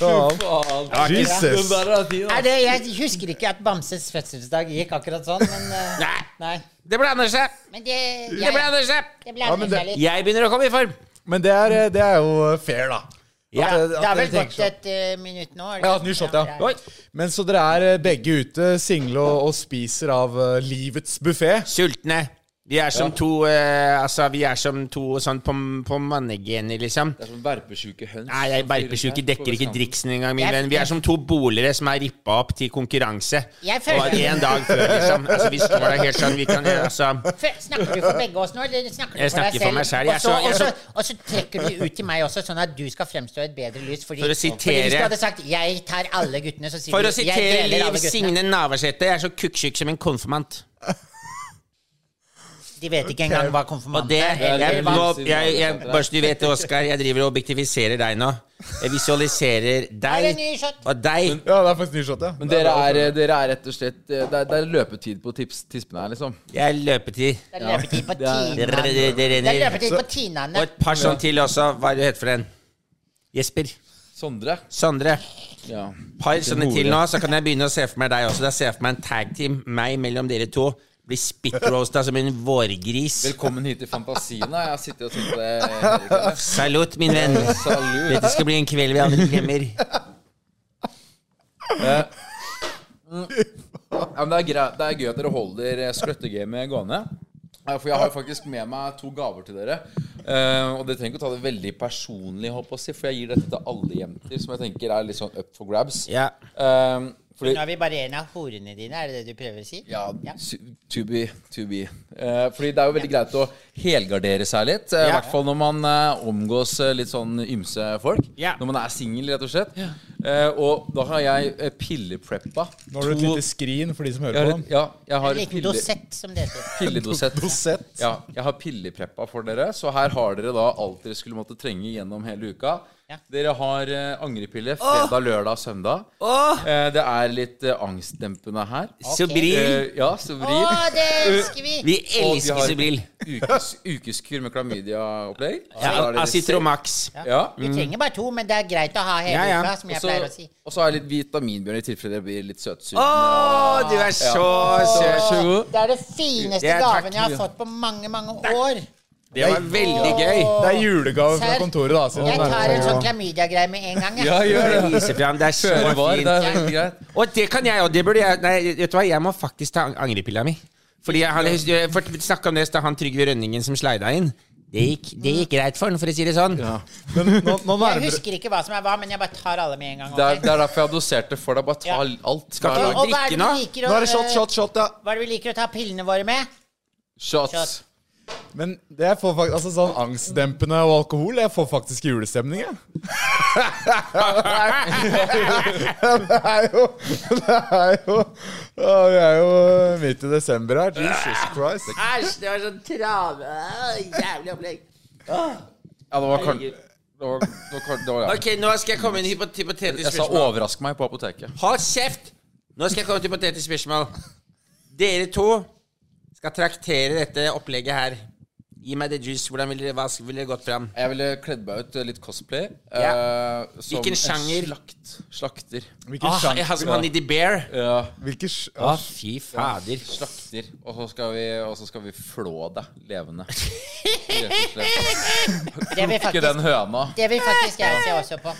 S6: Ja. Jesus!
S3: Den der er fin, da.
S4: Er det, jeg husker ikke at Bamses fødselsdag gikk akkurat sånn, men eh,
S5: Nei,
S4: Nei.
S5: det blander seg.
S4: Men det
S5: Det
S4: Jeg,
S5: blander seg.
S4: det
S6: Ja, men
S4: blander
S6: det-
S4: seg litt.
S5: Jeg begynner å komme i form.
S6: Men det er, det er jo fair, da.
S5: Ja,
S6: At-
S4: Det
S6: at
S4: har
S6: dere
S4: vel
S6: tenker
S4: gått
S6: sånn.
S4: et eh, minutt nå?
S6: Ja, et nytt shot, ja.
S5: Oi.
S6: Men så dere er eh, begge ute, single og, og spiser av eh, livets buffé.
S5: Sultne. Vi er som to eh, Altså, vi er som to sånn på, på mannegener, liksom.
S3: Det er sånn verpesjuke høns.
S5: Nei, jeg Berpesjuke dekker ikke driksen engang, min
S4: Jeg-
S5: venn. Vi er som to bolere som er rippa opp til konkurranse.
S4: Jeg
S5: Og
S4: føler-
S5: en dag før, liksom. Altså, vi står der helt sånn. Vi kan altså
S4: Før- Snakker du for begge oss nå, eller snakker du
S5: Jeg snakker for
S4: for
S5: meg
S4: deg selv?
S5: selv. Jeg er
S4: Og så-
S5: så- jeg
S4: og
S5: er
S4: så-
S5: så-
S4: Og så trekker du ut til meg også, sånn at du skal fremstå i et bedre lys. Fordi,
S5: For å sitere-
S4: fordi hvis du hadde sagt 'jeg tar alle guttene', så sier
S5: For
S4: du
S5: å
S4: 'jeg
S5: sitere
S4: deler
S5: Liv
S4: alle guttene'.
S5: Signe Navarsete, jeg er så kukktjukk som en konfirmant.
S4: De vet ikke engang hva konfirmant
S5: Og det jeg,
S4: eller hva-
S5: nå, jeg, jeg, Bare så du vet det, Oskar, jeg driver og objektifiserer deg nå. Jeg visualiserer
S4: Er det
S5: deg
S4: en ny shot?
S5: og deg.
S6: Ja, det er faktisk nytt shot, ja.
S3: Men dere er, eh, dere er rett og slett eh, Det er, det er løpetid på tips, tispene her, liksom.
S5: Jeg løper til.
S4: Det er løpetid på
S3: Det er-
S5: Det
S4: Tinaen.
S5: renner.
S4: Det er løpetid på Tinaen.
S5: Og et par sånn til også. Hva er det du heter for en? Jesper.
S3: Sondre.
S5: Sondre.
S3: Ja.
S5: Par sånne til nå, så kan jeg begynne å se for meg deg også. Da ser jeg for meg en tagteam, meg mellom dere to. Blir spittroasta som en vårgris.
S3: Velkommen hit til Fantasina. Jeg har sittet og tenkt på det hele (laughs) kvelden.
S5: Salut, min venn.
S3: Salut.
S5: Dette skal bli en kveld vi aldri glemmer.
S3: Ja, men det, er grei, det er gøy at dere holder eh, skrøttegamet gående. Ja, For jeg har faktisk med meg to gaver til dere. Eh, og dere trenger ikke å ta det veldig personlig, håper jeg, på å si, for jeg gir dette til alle jenter som jeg tenker er litt sånn up for grabs.
S5: Ja.
S3: Eh, fordi
S4: Nå er vi bare en av horene dine, er det det du prøver å si?
S3: ja, su- to be. To be. Eh, fordi det er jo veldig greit å helgardere seg litt. eh, I
S5: Ja.
S3: hvert fall når man eh, omgås eh, litt sånn ymse folk.
S5: Ja.
S3: Når man er singel, rett og slett. Eh, og da har jeg eh, pillepreppa.
S6: Nå har du et
S3: to-
S6: lite skrin for de som
S3: jeg har
S6: hører
S3: et,
S6: på.
S3: ja, jeg har
S4: En
S3: et
S4: liten
S3: pille-
S4: dosett, som det heter.
S3: Pilledosett.
S6: Dosett.
S3: Ja, jeg har pillepreppa for dere, så her har dere da alt dere skulle måtte trenge gjennom hele uka.
S4: Ja.
S3: Dere har eh, angrepille fredag, lørdag, søndag. Eh, det er litt eh, angstdempende her.
S5: Sobril.
S3: Eh, ja, så
S4: Å,
S3: vrir.
S4: det elsker vi!
S5: Vi
S3: Og vi
S5: elsker
S3: har
S5: Sobril.
S3: Ukes, ukeskur med klamydia-opplegg.
S5: Ja,
S3: Så er det litt
S5: Acitromax.
S3: sirup. Ja.
S4: Vi trenger bare to, men det er greit å ha hele
S5: Ja, ja.
S4: uka, som jeg
S3: Og så-
S4: pleier å si.
S3: Og så er det litt vitaminbjørn i tilfelle dere blir litt søtsugne.
S5: Å, du er så søt.
S3: så god.
S4: Det er det fineste
S5: Ja, takk.
S4: gaven jeg har fått på mange, mange år.
S5: Det var veldig gøy.
S6: Det er julegave fra
S4: Serr?
S6: kontoret, da. siden
S4: Jeg
S6: det nærmer
S4: tar en
S6: seg
S4: sånn
S6: jul.
S4: klamydia-greie med en gang,
S3: Ja,
S4: jeg.
S3: gjør det.
S5: Vise fram. Det er så
S3: Føre var, det er
S5: fint.
S3: veldig greit.
S5: Og det kan jeg òg. Det burde jeg Nei, vet du hva, jeg må faktisk ta ang- angrepilla mi. Fordi jeg, han, jeg for- snakket om det, så han Trygve Rønningen som slida inn. Det gikk, det gikk greit for han, for å si det sånn.
S6: Men nå, nå
S4: Jeg
S6: nærmer
S4: husker ikke hva som er hva, men jeg bare tar alle med en gang.
S3: Det er,
S4: ok?
S3: det er derfor jeg har dosert det for deg. Bare ta
S4: Ja.
S3: l- alt.
S5: Skal
S3: Hver
S5: ikke-
S3: dag.
S4: Og hva er det
S5: Drikke nå?
S4: vi liker å
S6: Nå er det shot,
S4: eh,
S6: shot, shot, ja.
S4: Hva er det vi liker å ta pillene våre med?
S3: Shots.
S4: Shot.
S6: Men det jeg får faktisk, altså sånn angstdempende og alkohol, jeg får faktisk julestemning, jeg. det er jo Det er jo å, Vi er jo midt i desember her. Jesus Christ.
S5: Æsj, det var sånn trave. Jævlig opplegg.
S3: Ja, det var kanskje det var, det var, kan- det var, ja.
S5: Ok, nå skal jeg komme med en hypo- hypotetisk
S3: Jeg sa
S5: spørsmål.
S3: 'overrask meg' på apoteket.
S5: Hold kjeft! Nå skal jeg komme med et hypotetisk spørsmål. Dere to skal traktere dette opplegget her. Gi meg the juice. Hvordan ville dere, hva ville dere gått fram?
S3: Jeg ville kledd meg ut eh, litt cosplay.
S5: Ja.
S3: eh, som
S5: Hvilken
S3: en
S5: sjanger?
S3: Slakt, slakter.
S6: Hvilken
S5: Ah, jeg har som han i The Bear.
S3: Ja,
S6: Hvilken sj-
S5: Å,
S6: ah,
S5: fy fader.
S3: slakter. Og så skal vi, og så skal vi flå deg
S5: (laughs)
S3: levende. Rett og slett.
S4: Det vil
S3: Ikke
S4: faktisk,
S3: den høna.
S4: det vil faktisk jeg se også på.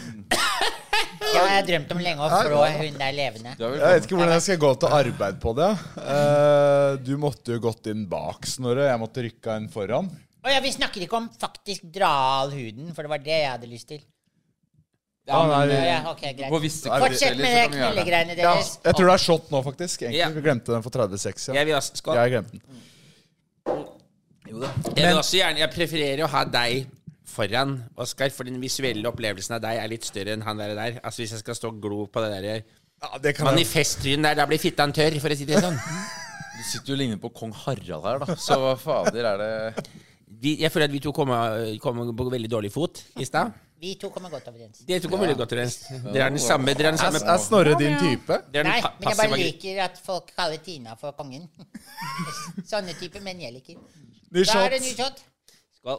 S4: Det har jeg drømt om lenge, å flå hun der levende.
S3: Du er
S6: Jeg vet
S3: velkommen.
S6: ikke hvordan jeg skal gå til arbeid på det. Eh, Du måtte jo gått inn bak, Snorre. Jeg måtte rykka inn foran.
S4: Å ja, vi snakker ikke om faktisk dra av huden, for det var det jeg hadde lyst til.
S3: Ja, men,
S4: Ja,
S3: eh,
S4: ja, ok, greit.
S3: På visse
S6: er det-
S4: Fortsett med det
S3: kvelder så kan vi gjøre det.
S4: knullegreiene
S6: Ja,
S4: deres.
S6: jeg tror det er shot nå, faktisk.
S5: Ja.
S6: Egentlig. Vi glemte den for 36. Ja.
S5: Jeg vil også, skål.
S6: Jeg glemte den.
S5: Jeg, vil også gjerne, jeg prefererer å ha deg foran, Oskar, for den visuelle opplevelsen av deg er litt større enn han der. der. Altså Hvis jeg skal stå og glo på det der
S6: Ja, det kan jeg.
S5: manifesttrynet der, da blir fittan tørr, for å si det sånn.
S3: Du sitter jo og ligner på kong Harald her, da. Så hva fader er det
S5: Vi, jeg føler at vi to kom, kom på veldig dårlig fot i stad.
S4: Vi to kommer godt overens.
S5: Dere to kom veldig godt overens. Dere er den samme Dere er den
S6: Er,
S5: samme
S6: er Snorre din type?
S5: dere er
S4: Nei,
S5: den pa
S4: men jeg bare
S5: passive-
S4: liker at folk kaller Tina for kongen. (laughs) Sånne typer menn jeg liker.
S6: Ny
S4: Da er det ny
S6: shot.
S4: shot.
S5: Skål.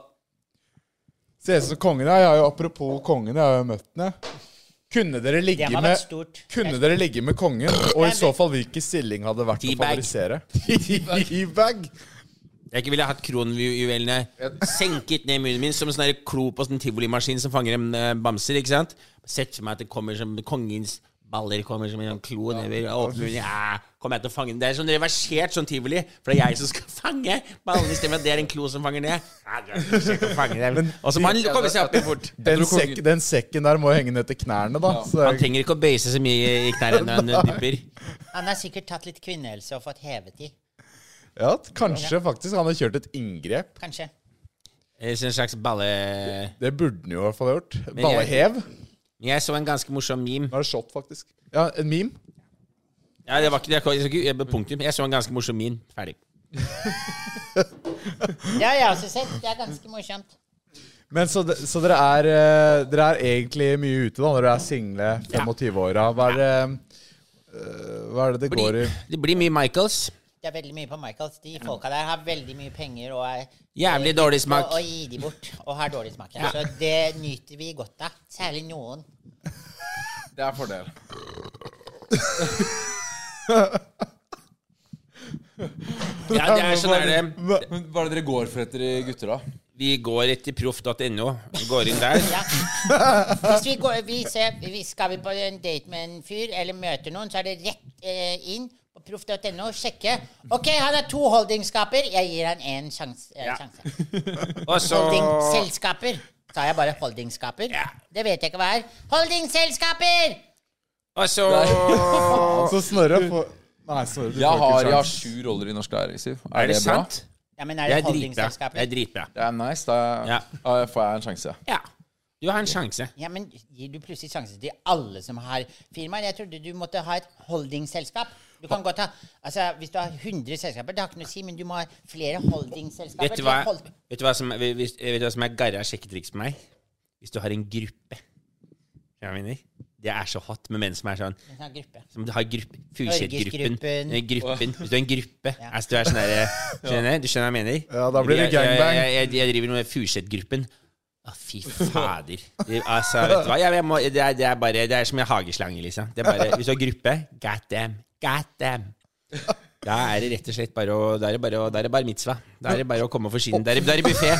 S6: Ser ut som kongen. ja. Jeg har jo apropos kongen, jeg har jo møtt den, jeg. Kunne
S4: Det
S6: dere ligge
S4: må ha vært
S6: med
S4: stort.
S6: kunne dere ligge med kongen, og i så fall hvilken stilling hadde vært å
S5: Teabag.
S6: favorisere? Teabag.
S5: Jeg ikke ville hatt kronjuvelene senket ned i munnen min som en sånn der klo på sånn tivolimaskin som fanger en eh, bamser. ikke sant? Sett for meg at det kommer som kongens baller kommer som en sånn klo nedover og åpner munnen. Ja, kommer jeg til å fange den? Det er sånn reversert sånn tivoli, for det er jeg som skal fange ballene istedenfor at det er en klo som fanger ned. Ja, det er ikke sikkert å fange dem. Og så må han komme seg opp i fort.
S6: Den,
S3: tror kongen-
S6: sekk, den sekken der må jo henge ned til knærne, da. Så
S5: Han
S6: jeg,
S5: trenger ikke å bøye seg så mye i knærne når han dypper.
S4: Han har sikkert tatt litt kvinnehelse og fått hevet de.
S6: ja, kanskje faktisk han har kjørt et inngrep.
S4: Kanskje.
S5: Eh, Så en slags balle...
S6: Det burde han jo i hvert fall ha gjort.
S5: Men jeg-
S6: Ballehev.
S5: Jeg så en ganske morsom meme.
S6: Nå er det shot, faktisk. Ja, en meme.
S5: Ja, det var ikke, det var ikke jeg, punktum. Jeg så en ganske morsom meme. Ferdig.
S4: Det har jeg også sett. Det er ganske morsomt.
S6: Men så, de- så dere, er, eh, dere er egentlig mye ute da når dere er single 25-åra. Hva, er det, eh, hva er det det går i?
S5: blir, det blir mye Michaels.
S4: Det er veldig mye på Michaels. De folka der har veldig mye penger og er
S5: Jævlig dårlig smak.
S4: Og, og gir de bort. Og har dårlig smak. Ja. Så det nyter vi godt av. Særlig noen.
S3: Det er fordel.
S5: Ja, det er sånn er det.
S3: Men hva er det dere går for etter gutter, da?
S5: Vi går etter proff.no. Går inn
S4: (laughs)
S5: der.
S4: Ja. Hvis vi går, vi ser, vi skal vi på en date med en fyr eller møter noen, så er det rett eh, inn på proff.no og sjekke. OK, han har to holdingskaper. Jeg gir han én sjanse. eh,
S5: Ja.
S4: sjanse.
S5: Og så
S4: Holdingselskaper. Sa jeg bare holdingskaper?
S5: Ja.
S4: Det vet jeg ikke hva er. Holdingselskaper!
S5: Og så
S6: Så Snorre får Nei, Snorre, du
S3: Jeg
S6: får ikke
S3: har, jeg har
S6: sjans.
S3: sju roller i norsk lærerliv.
S5: Er det
S3: bra?
S5: sant?
S4: Ja, men er
S5: Det
S4: det
S5: er dritbra.
S4: holdingselskaper?
S5: Det er dritbra.
S3: Det er nice. Da
S5: Ja.
S3: da får jeg en sjanse.
S5: Ja. Du har en sjanse.
S4: Ja, men Gir du plutselig sjanse til alle som har firmaer? Jeg trodde du måtte ha et holdingselskap. Du kan godt ha, altså Hvis du har 100 selskaper, det har ikke noe å si, men du må ha flere holdingselskaper.
S5: Vet du
S4: til
S5: hva,
S4: hold-
S5: vet du hva, som, er- hvis- vet du hva som er garra sjekketriks på meg? Hvis du har en gruppe. Skjønner du hva jeg mener? Det er så hot med menn som er sånn
S4: en sånn gruppe.
S5: som har gruppe, Furuset-gruppen.
S4: Norgesgruppen.
S5: Eh, Gruppen. Hvis du er en gruppe altså, Du er sånn
S6: (laughs)
S5: derre Skjønner du? Du skjønner hva jeg mener?
S6: Ja, da blir det
S5: Jeg- jeg-
S6: gangbang.
S5: Jeg, jeg, jeg driver med Furuset-gruppen. Å, fy fader. Det, altså, vet du hva? Jeg, jeg må, det, er, det er bare Det er som en hageslange, liksom. Det er bare, hvis du har gruppe, god damn, god damn. Da er det rett og slett bare å Da er det bare, å, da er det bare mitzvah. Da er det bare å komme og forsyne. Da er det, da er det buffé.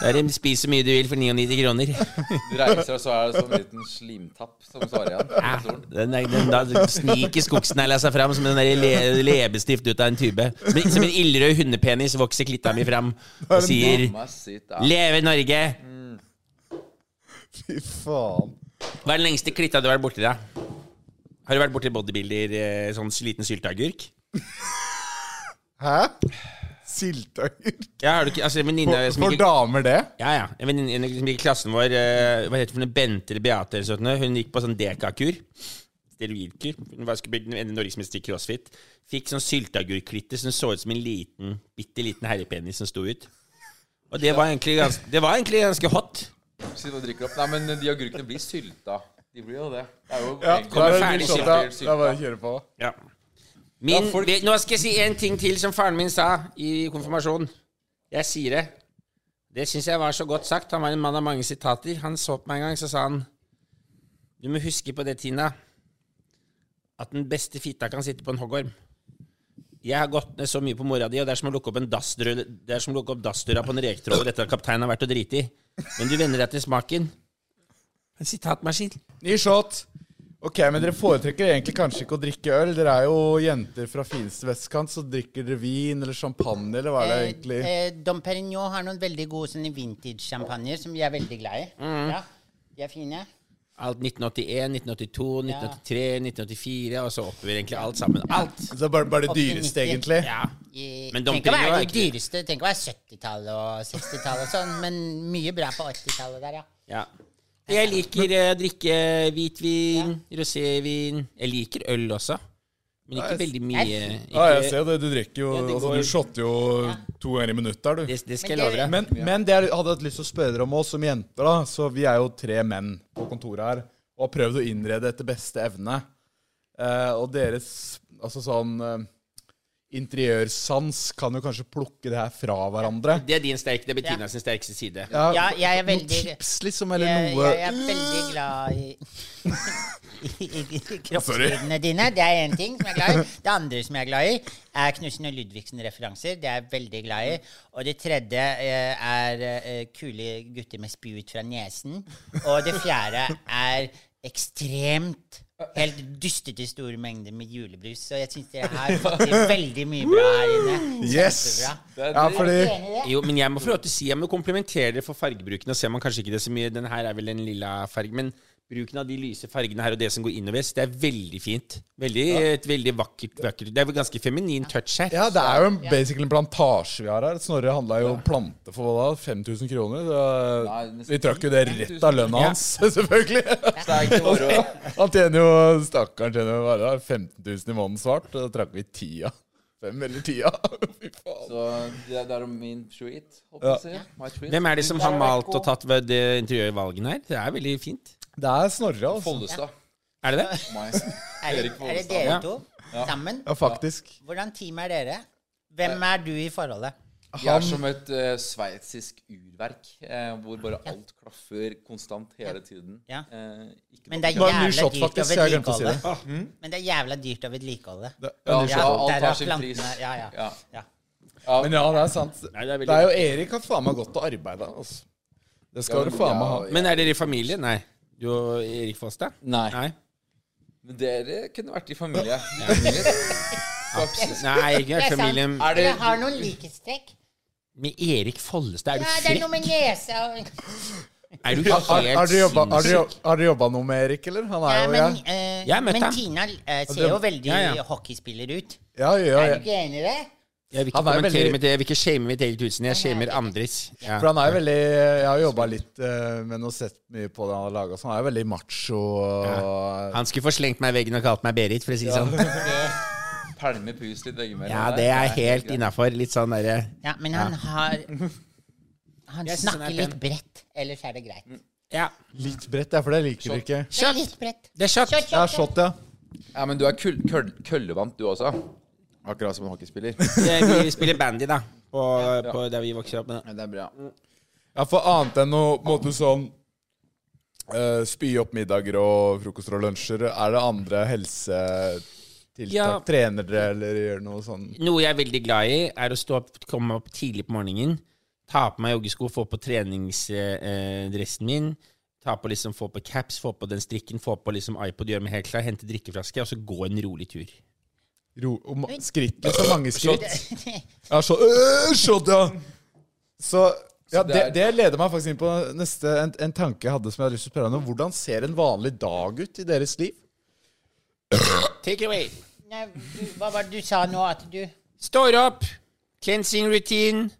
S5: Da er det spis så mye du vil for 99 kroner.
S3: Du reiser deg, så er det sånn liten slimtapp som svarer igjen.
S5: Ja, Den, er, den da sniker skogsnegla seg fram som en der le, leppestift ut av en tube. Som, en- som en ildrød hundepenis vokser klitta mi fram og sier
S3: Mamma sitt, ja.
S5: 'Leve Norge'!
S6: Fy faen.
S5: Hva er den lengste klitta du har vært borti, da? Har du vært borti bodybuilder eh, sånn sliten sylteagurk?
S6: Hæ? Silteagurk?
S5: Ja, har du ikke Altså, en venninne
S6: For,
S5: som
S6: for
S5: gikk
S6: damer, det?
S5: Ja, ja. En venninne som gikk i klassen vår, eh, hva heter hun, Bente eller Beate eller sånt, noe, hun gikk på sånn dekakur. Steroidkur. Hun var skulle bli en norgesmester i crossfit. Fikk sånn sylteagurklitter som så ut som en liten, bitte liten herrepenis som sto ut. Og det var egentlig ganske, det var egentlig ganske hot.
S3: Sitter og drikker opp. Nei, men de agurkene blir sylta. De blir jo det. Det er jo
S6: Ja,
S3: egentlig-
S6: da er det
S5: ferdig
S6: litt sånn,
S5: sylta.
S6: ja. Det er bare å kjøre på.
S5: Ja. Min,
S3: Ja, folk-
S5: vet- nå skal jeg si en ting til som faren min sa i konfirmasjonen. Jeg sier det. Det syns jeg var så godt sagt. Han var en mann av mange sitater. Han så på meg en gang, så sa han Du må huske på det, Tina, at den beste fitta kan sitte på en hoggorm. Jeg har gått ned så mye på mora di, og det er som å lukke opp en dassdør, det er som å lukke opp dassdøra på en reketråler etter at kapteinen har vært og driti i. Men du venner deg til smaken. En sitatmaskin.
S6: Ny shot. Ok, men dere foretrekker egentlig kanskje ikke å drikke øl. Dere er jo jenter fra fineste vestkant, så drikker dere vin eller champagne, eller hva er det egentlig?
S4: Eh, eh, Dom Perignon har noen veldig gode sånne vintage-sjampanjer som jeg er veldig glad i.
S6: Mm.
S4: Ja, De er fine.
S5: Alt 1981, 1982, 1983, 1984, og så oppover egentlig alt sammen. Alt!
S6: Så det er bare, bare det dyreste,
S4: 80-90.
S6: egentlig.
S5: Ja.
S4: I-
S5: Men Dom
S4: Tenk å
S5: Perignon
S4: være
S5: er
S4: de
S5: ikke det.
S4: dyreste. Tenk å være 70-tallet og 60-tallet og sånn, men mye bra på 80-tallet der, ja.
S5: ja. Jeg liker eh, å drikke hvitvin, rosévin Jeg liker øl også, men ikke veldig mye.
S6: Ja, jeg
S5: Ikke,
S6: ser jo det. Du drikker jo altså, Du shotter jo to ganger i minuttet, er du.
S5: det, det skal jeg love deg.
S6: Men, men det jeg hadde hatt lyst til å spørre dere om oss som jenter, da. Så vi er jo tre menn på kontoret her, og har prøvd å innrede etter beste evne. Eh, og deres altså sånn eh, interiørsans kan jo kanskje plukke det her fra hverandre.
S5: Det er din sterke, det er Bettina sin sterkeste side.
S4: Ja, jeg er veldig
S6: Noen tips, liksom,
S4: Jeg,
S6: eller noe
S4: jeg er veldig glad i,
S6: (laughs)
S4: i, i, i kroppslydene dine. Det er én ting som jeg er glad i. Det andre som jeg er glad i, er Knutsen og Ludvigsen-referanser. Det er jeg veldig glad i. Og det tredje eh, er eh, kule gutter med spy ut fra nesen. Og det fjerde er ekstremt Helt dystete store mengder med julebrus. Så jeg syns dere har fått til veldig mye bra her inne.
S6: Yes!
S3: Det er
S6: Ja,
S3: dritt.
S6: fordi
S4: Enig i det?
S5: Jo, men jeg må få lov til å si Jeg må komplimentere dere for fargebruken. Og ser man kanskje ikke det så mye Den her er vel en lilla farge, men bruken av de lyse fargene her og det som går innover, så det er veldig fint. Veldig, Et veldig vakkert, vakkert Det er vel ganske feminin touch her.
S6: Ja, det er jo en, basically en plantasje vi har her. Snorre handla jo plante for hva da? 5000 kroner?
S3: Nei,
S6: Så
S3: nesten
S6: vi trakk jo det
S3: 10 000.
S6: rett av lønna hans, (laughs) selvfølgelig.
S3: Så det er ikke moro.
S6: Han tjener jo Stakkaren tjener jo bare 15 000 i måneden svart. og Da trakk vi tida. Fem eller tida. (laughs) Fy faen.
S3: Så det, det er om min tweet, holdt jeg på å si. My tweet.
S5: Hvem er det som har malt og tatt ved det interiørvalgene her? Det er veldig fint.
S6: Det er Snorre, altså.
S3: Follestad.
S5: Er det det?
S3: Meg.
S4: Er det,
S3: Erik
S4: er det
S3: Follestad.
S4: dere
S5: Ja.
S4: to sammen?
S6: Ja, faktisk.
S4: Hvordan team er dere?
S6: Eh,
S4: Hvem er du i forholdet?
S3: Jeg er som et uh, sveitsisk urverk, eh, hvor bare alt klaffer konstant hele tiden.
S4: Ja.
S3: Eh, ikke noe-
S4: Men det er
S6: Det var en ny
S4: jævla dyrt
S6: shot,
S4: å
S6: faktisk. Jeg glemte å si
S4: vedlikeholde.
S6: det.
S4: Men det er jævla dyrt å vedlikeholde.
S6: Det er
S3: ja,
S6: en ny
S3: så
S6: shot.
S4: der
S3: alt
S4: er
S3: har sin
S4: plantene.
S3: pris.
S4: Ja, ja.
S3: Ja.
S4: Ja.
S6: Men ja, det er sant.
S5: Nei, det er veldig
S6: Det er jo Erik har faen meg godt å arbeide, altså. Det skal du faen meg ha.
S5: Men er dere i familie? Nei. Du og Erik Foss, da?
S3: Nei.
S5: Nei.
S3: Men dere kunne vært i familie. Ja.
S5: Absolutt. Nei,
S4: Det
S5: ikke
S4: er
S5: Ørsta
S4: sant.
S5: William.
S3: Er det-
S4: Jeg har noen likhetstrekk.
S5: Med Erik Follestad, er
S4: Ja,
S5: du
S4: det er noe
S5: frekk?
S4: med nese og
S5: Er du
S6: Har- Har har
S5: helt
S6: dere jobba- har dere
S5: sinnssyk?
S6: jobb- har dere jobba noe med Erik, eller? Han er
S4: Ja,
S6: jo
S4: men,
S6: jeg.
S4: eh,
S5: Jeg møtte
S4: men
S5: han.
S4: Tina eh,
S6: det-
S4: ser jo veldig
S5: Ja, ja.
S4: hockeyspiller ut.
S6: Ja, ja,
S4: Er du
S6: ja.
S4: ikke enig i det?
S5: Jeg vil ikke
S6: Han er jo
S5: kommentere
S6: veldig-
S5: mitt Jeg vil ikke shame mitt eget utseende. Jeg shamer andres. Ja.
S6: For han er jo veldig Jeg har jobba litt eh, med noe, sett mye på det han har laga, så han er jo veldig macho. og-
S5: Han skulle få slengt meg i veggen og kalt meg Berit, for å si det sånn.
S3: Pælme pus litt veggimellom.
S5: Ja,
S3: der.
S5: det er
S3: Nei,
S5: helt
S3: greit.
S5: innafor. Litt sånn derre
S4: Ja, men han har Han
S5: Jeg synes han er
S4: snakker
S5: pen.
S4: litt bredt, ellers er det greit.
S6: Mm.
S5: Ja.
S6: Litt bredt, ja, for det liker dere ikke.
S4: Det er litt bredt.
S5: Det er shot.
S6: Ja, shot, ja.
S3: Ja, men du er køll, køll, køllevant, du også. Akkurat som en (laughs) hockeyspiller.
S5: Vi spiller bandy, da. På, på der vi vokser opp. men-
S3: det er bra.
S6: Ja, for annet enn å på en måte sånn eh, spy opp middager og frokoster og lunsjer, er det andre helsetiltak?
S5: Ja.
S6: Trener dere eller gjør noe sånn?
S5: Noe jeg er veldig glad i, er å stå opp, komme opp tidlig på morgenen, ta på meg joggesko, få på treningsdressen min, ta på liksom, få på caps, få på den strikken, få på liksom iPod, gjøre meg helt klar, hente drikkeflaske, og så gå en rolig tur.
S6: Ro om, skritt, liksom mange skritt?
S4: Shot.
S6: Ja, shot, øh, shot ja. Så ja,
S3: det
S6: det,
S3: er-
S6: det leder meg faktisk inn på neste, en, en tanke jeg hadde som jeg hadde lyst til å spørre deg om. Hvordan ser en vanlig dag ut i deres liv?
S5: Take it away.
S4: (laughs) Nei, du, hva var det du sa nå at du
S5: Står opp, cleansing routine,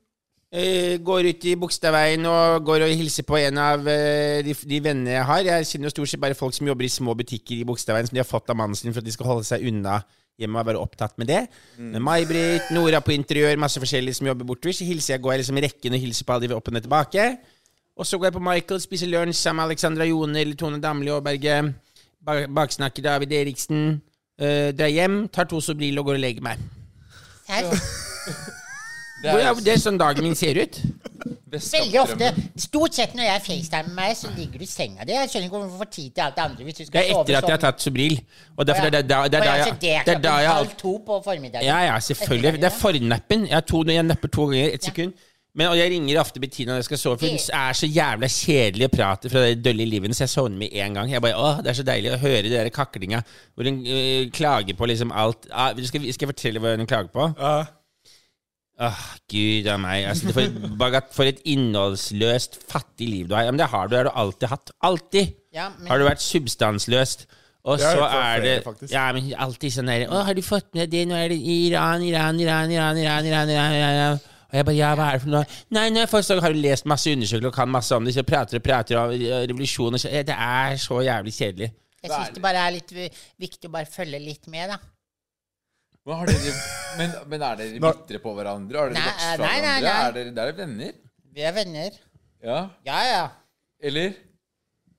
S5: eh, går ut i Bogstadveien og går og hilser på en av eh, de, de vennene jeg har. Jeg kjenner jo stort sett bare folk som jobber i små butikker i Bogstadveien, som de har fått av mannen sin for at de skal holde seg unna hjemme og være opptatt med det. Med May-Britt, Nora på interiør, masse forskjellige som jobber bortover. Så hilser jeg, går jeg liksom i rekken og hilser på alle de opp og ned tilbake. Og så går jeg på Michael, spiser lunsj sammen med Alexandra Jone eller Tone Damli Aaberge. Ba- Baksnakker David Eriksen. Eh, drar hjem, tar to Sobril og går og legger meg.
S4: Her,
S3: Det
S5: Det
S3: er
S5: er, det er sånn dagen min ser ut.
S4: Veldig ofte. Stort sett når jeg facetimer med meg, så ligger du i senga di. Jeg skjønner ikke hvorfor du får tid til alt det andre hvis du skal sånn.
S5: Det er etter at jeg har tatt Sobril. Og derfor er det da, det er da jeg,
S4: Det er
S5: det er da
S4: klokken
S5: jeg
S4: halv
S5: alt-
S4: to på formiddagen.
S5: Ja, ja, selvfølgelig. Det er fornappen. Jeg, har to, jeg napper to ganger. Ett
S4: Ja.
S5: sekund. Men, og jeg ringer ofte Bettina når jeg skal sove, for hun
S4: Det-
S5: er så jævla kjedelig å prate fra det dølle livet, så jeg sovner med en gang. Jeg bare, åh, Det er så deilig å høre det der kaklinga hvor hun øh, klager på liksom alt. Ah, skal, vi- skal jeg fortelle hva hun klager på? Åh, gud a meg. Altså, det for, et bagat, for et innholdsløst, fattig liv du har. Ja, men det har du, det har du alltid hatt. Alltid
S4: Ja, men-
S5: har du vært substansløst. Og
S6: Det har jeg
S5: så
S6: hørt fra
S5: er det
S6: flere, faktisk.
S5: Ja, men alltid sånn der Å, har du fått med det? Nå er det Iran, Iran, Iran, Iran, Iran, Iran, Iran, Iran, Iran. Og jeg bare, ja, hva er det for noe? Nei, nå har jeg fått- så har du lest masse undersøkelser og kan masse om det, så prater og prater om eh, revolusjon og så Ja, Det er så jævlig kjedelig.
S4: Jeg syns det bare er litt vi- viktig å bare følge litt med, da.
S3: Hva har dere, men, men er dere
S6: Nå-
S3: bitre på hverandre? Har dere
S4: Nei,
S3: vokst fra
S4: nei,
S3: hverandre?
S4: nei, nei.
S3: Er dere, dere er venner?
S4: Vi er venner.
S3: Ja?
S4: Ja, ja.
S3: Eller?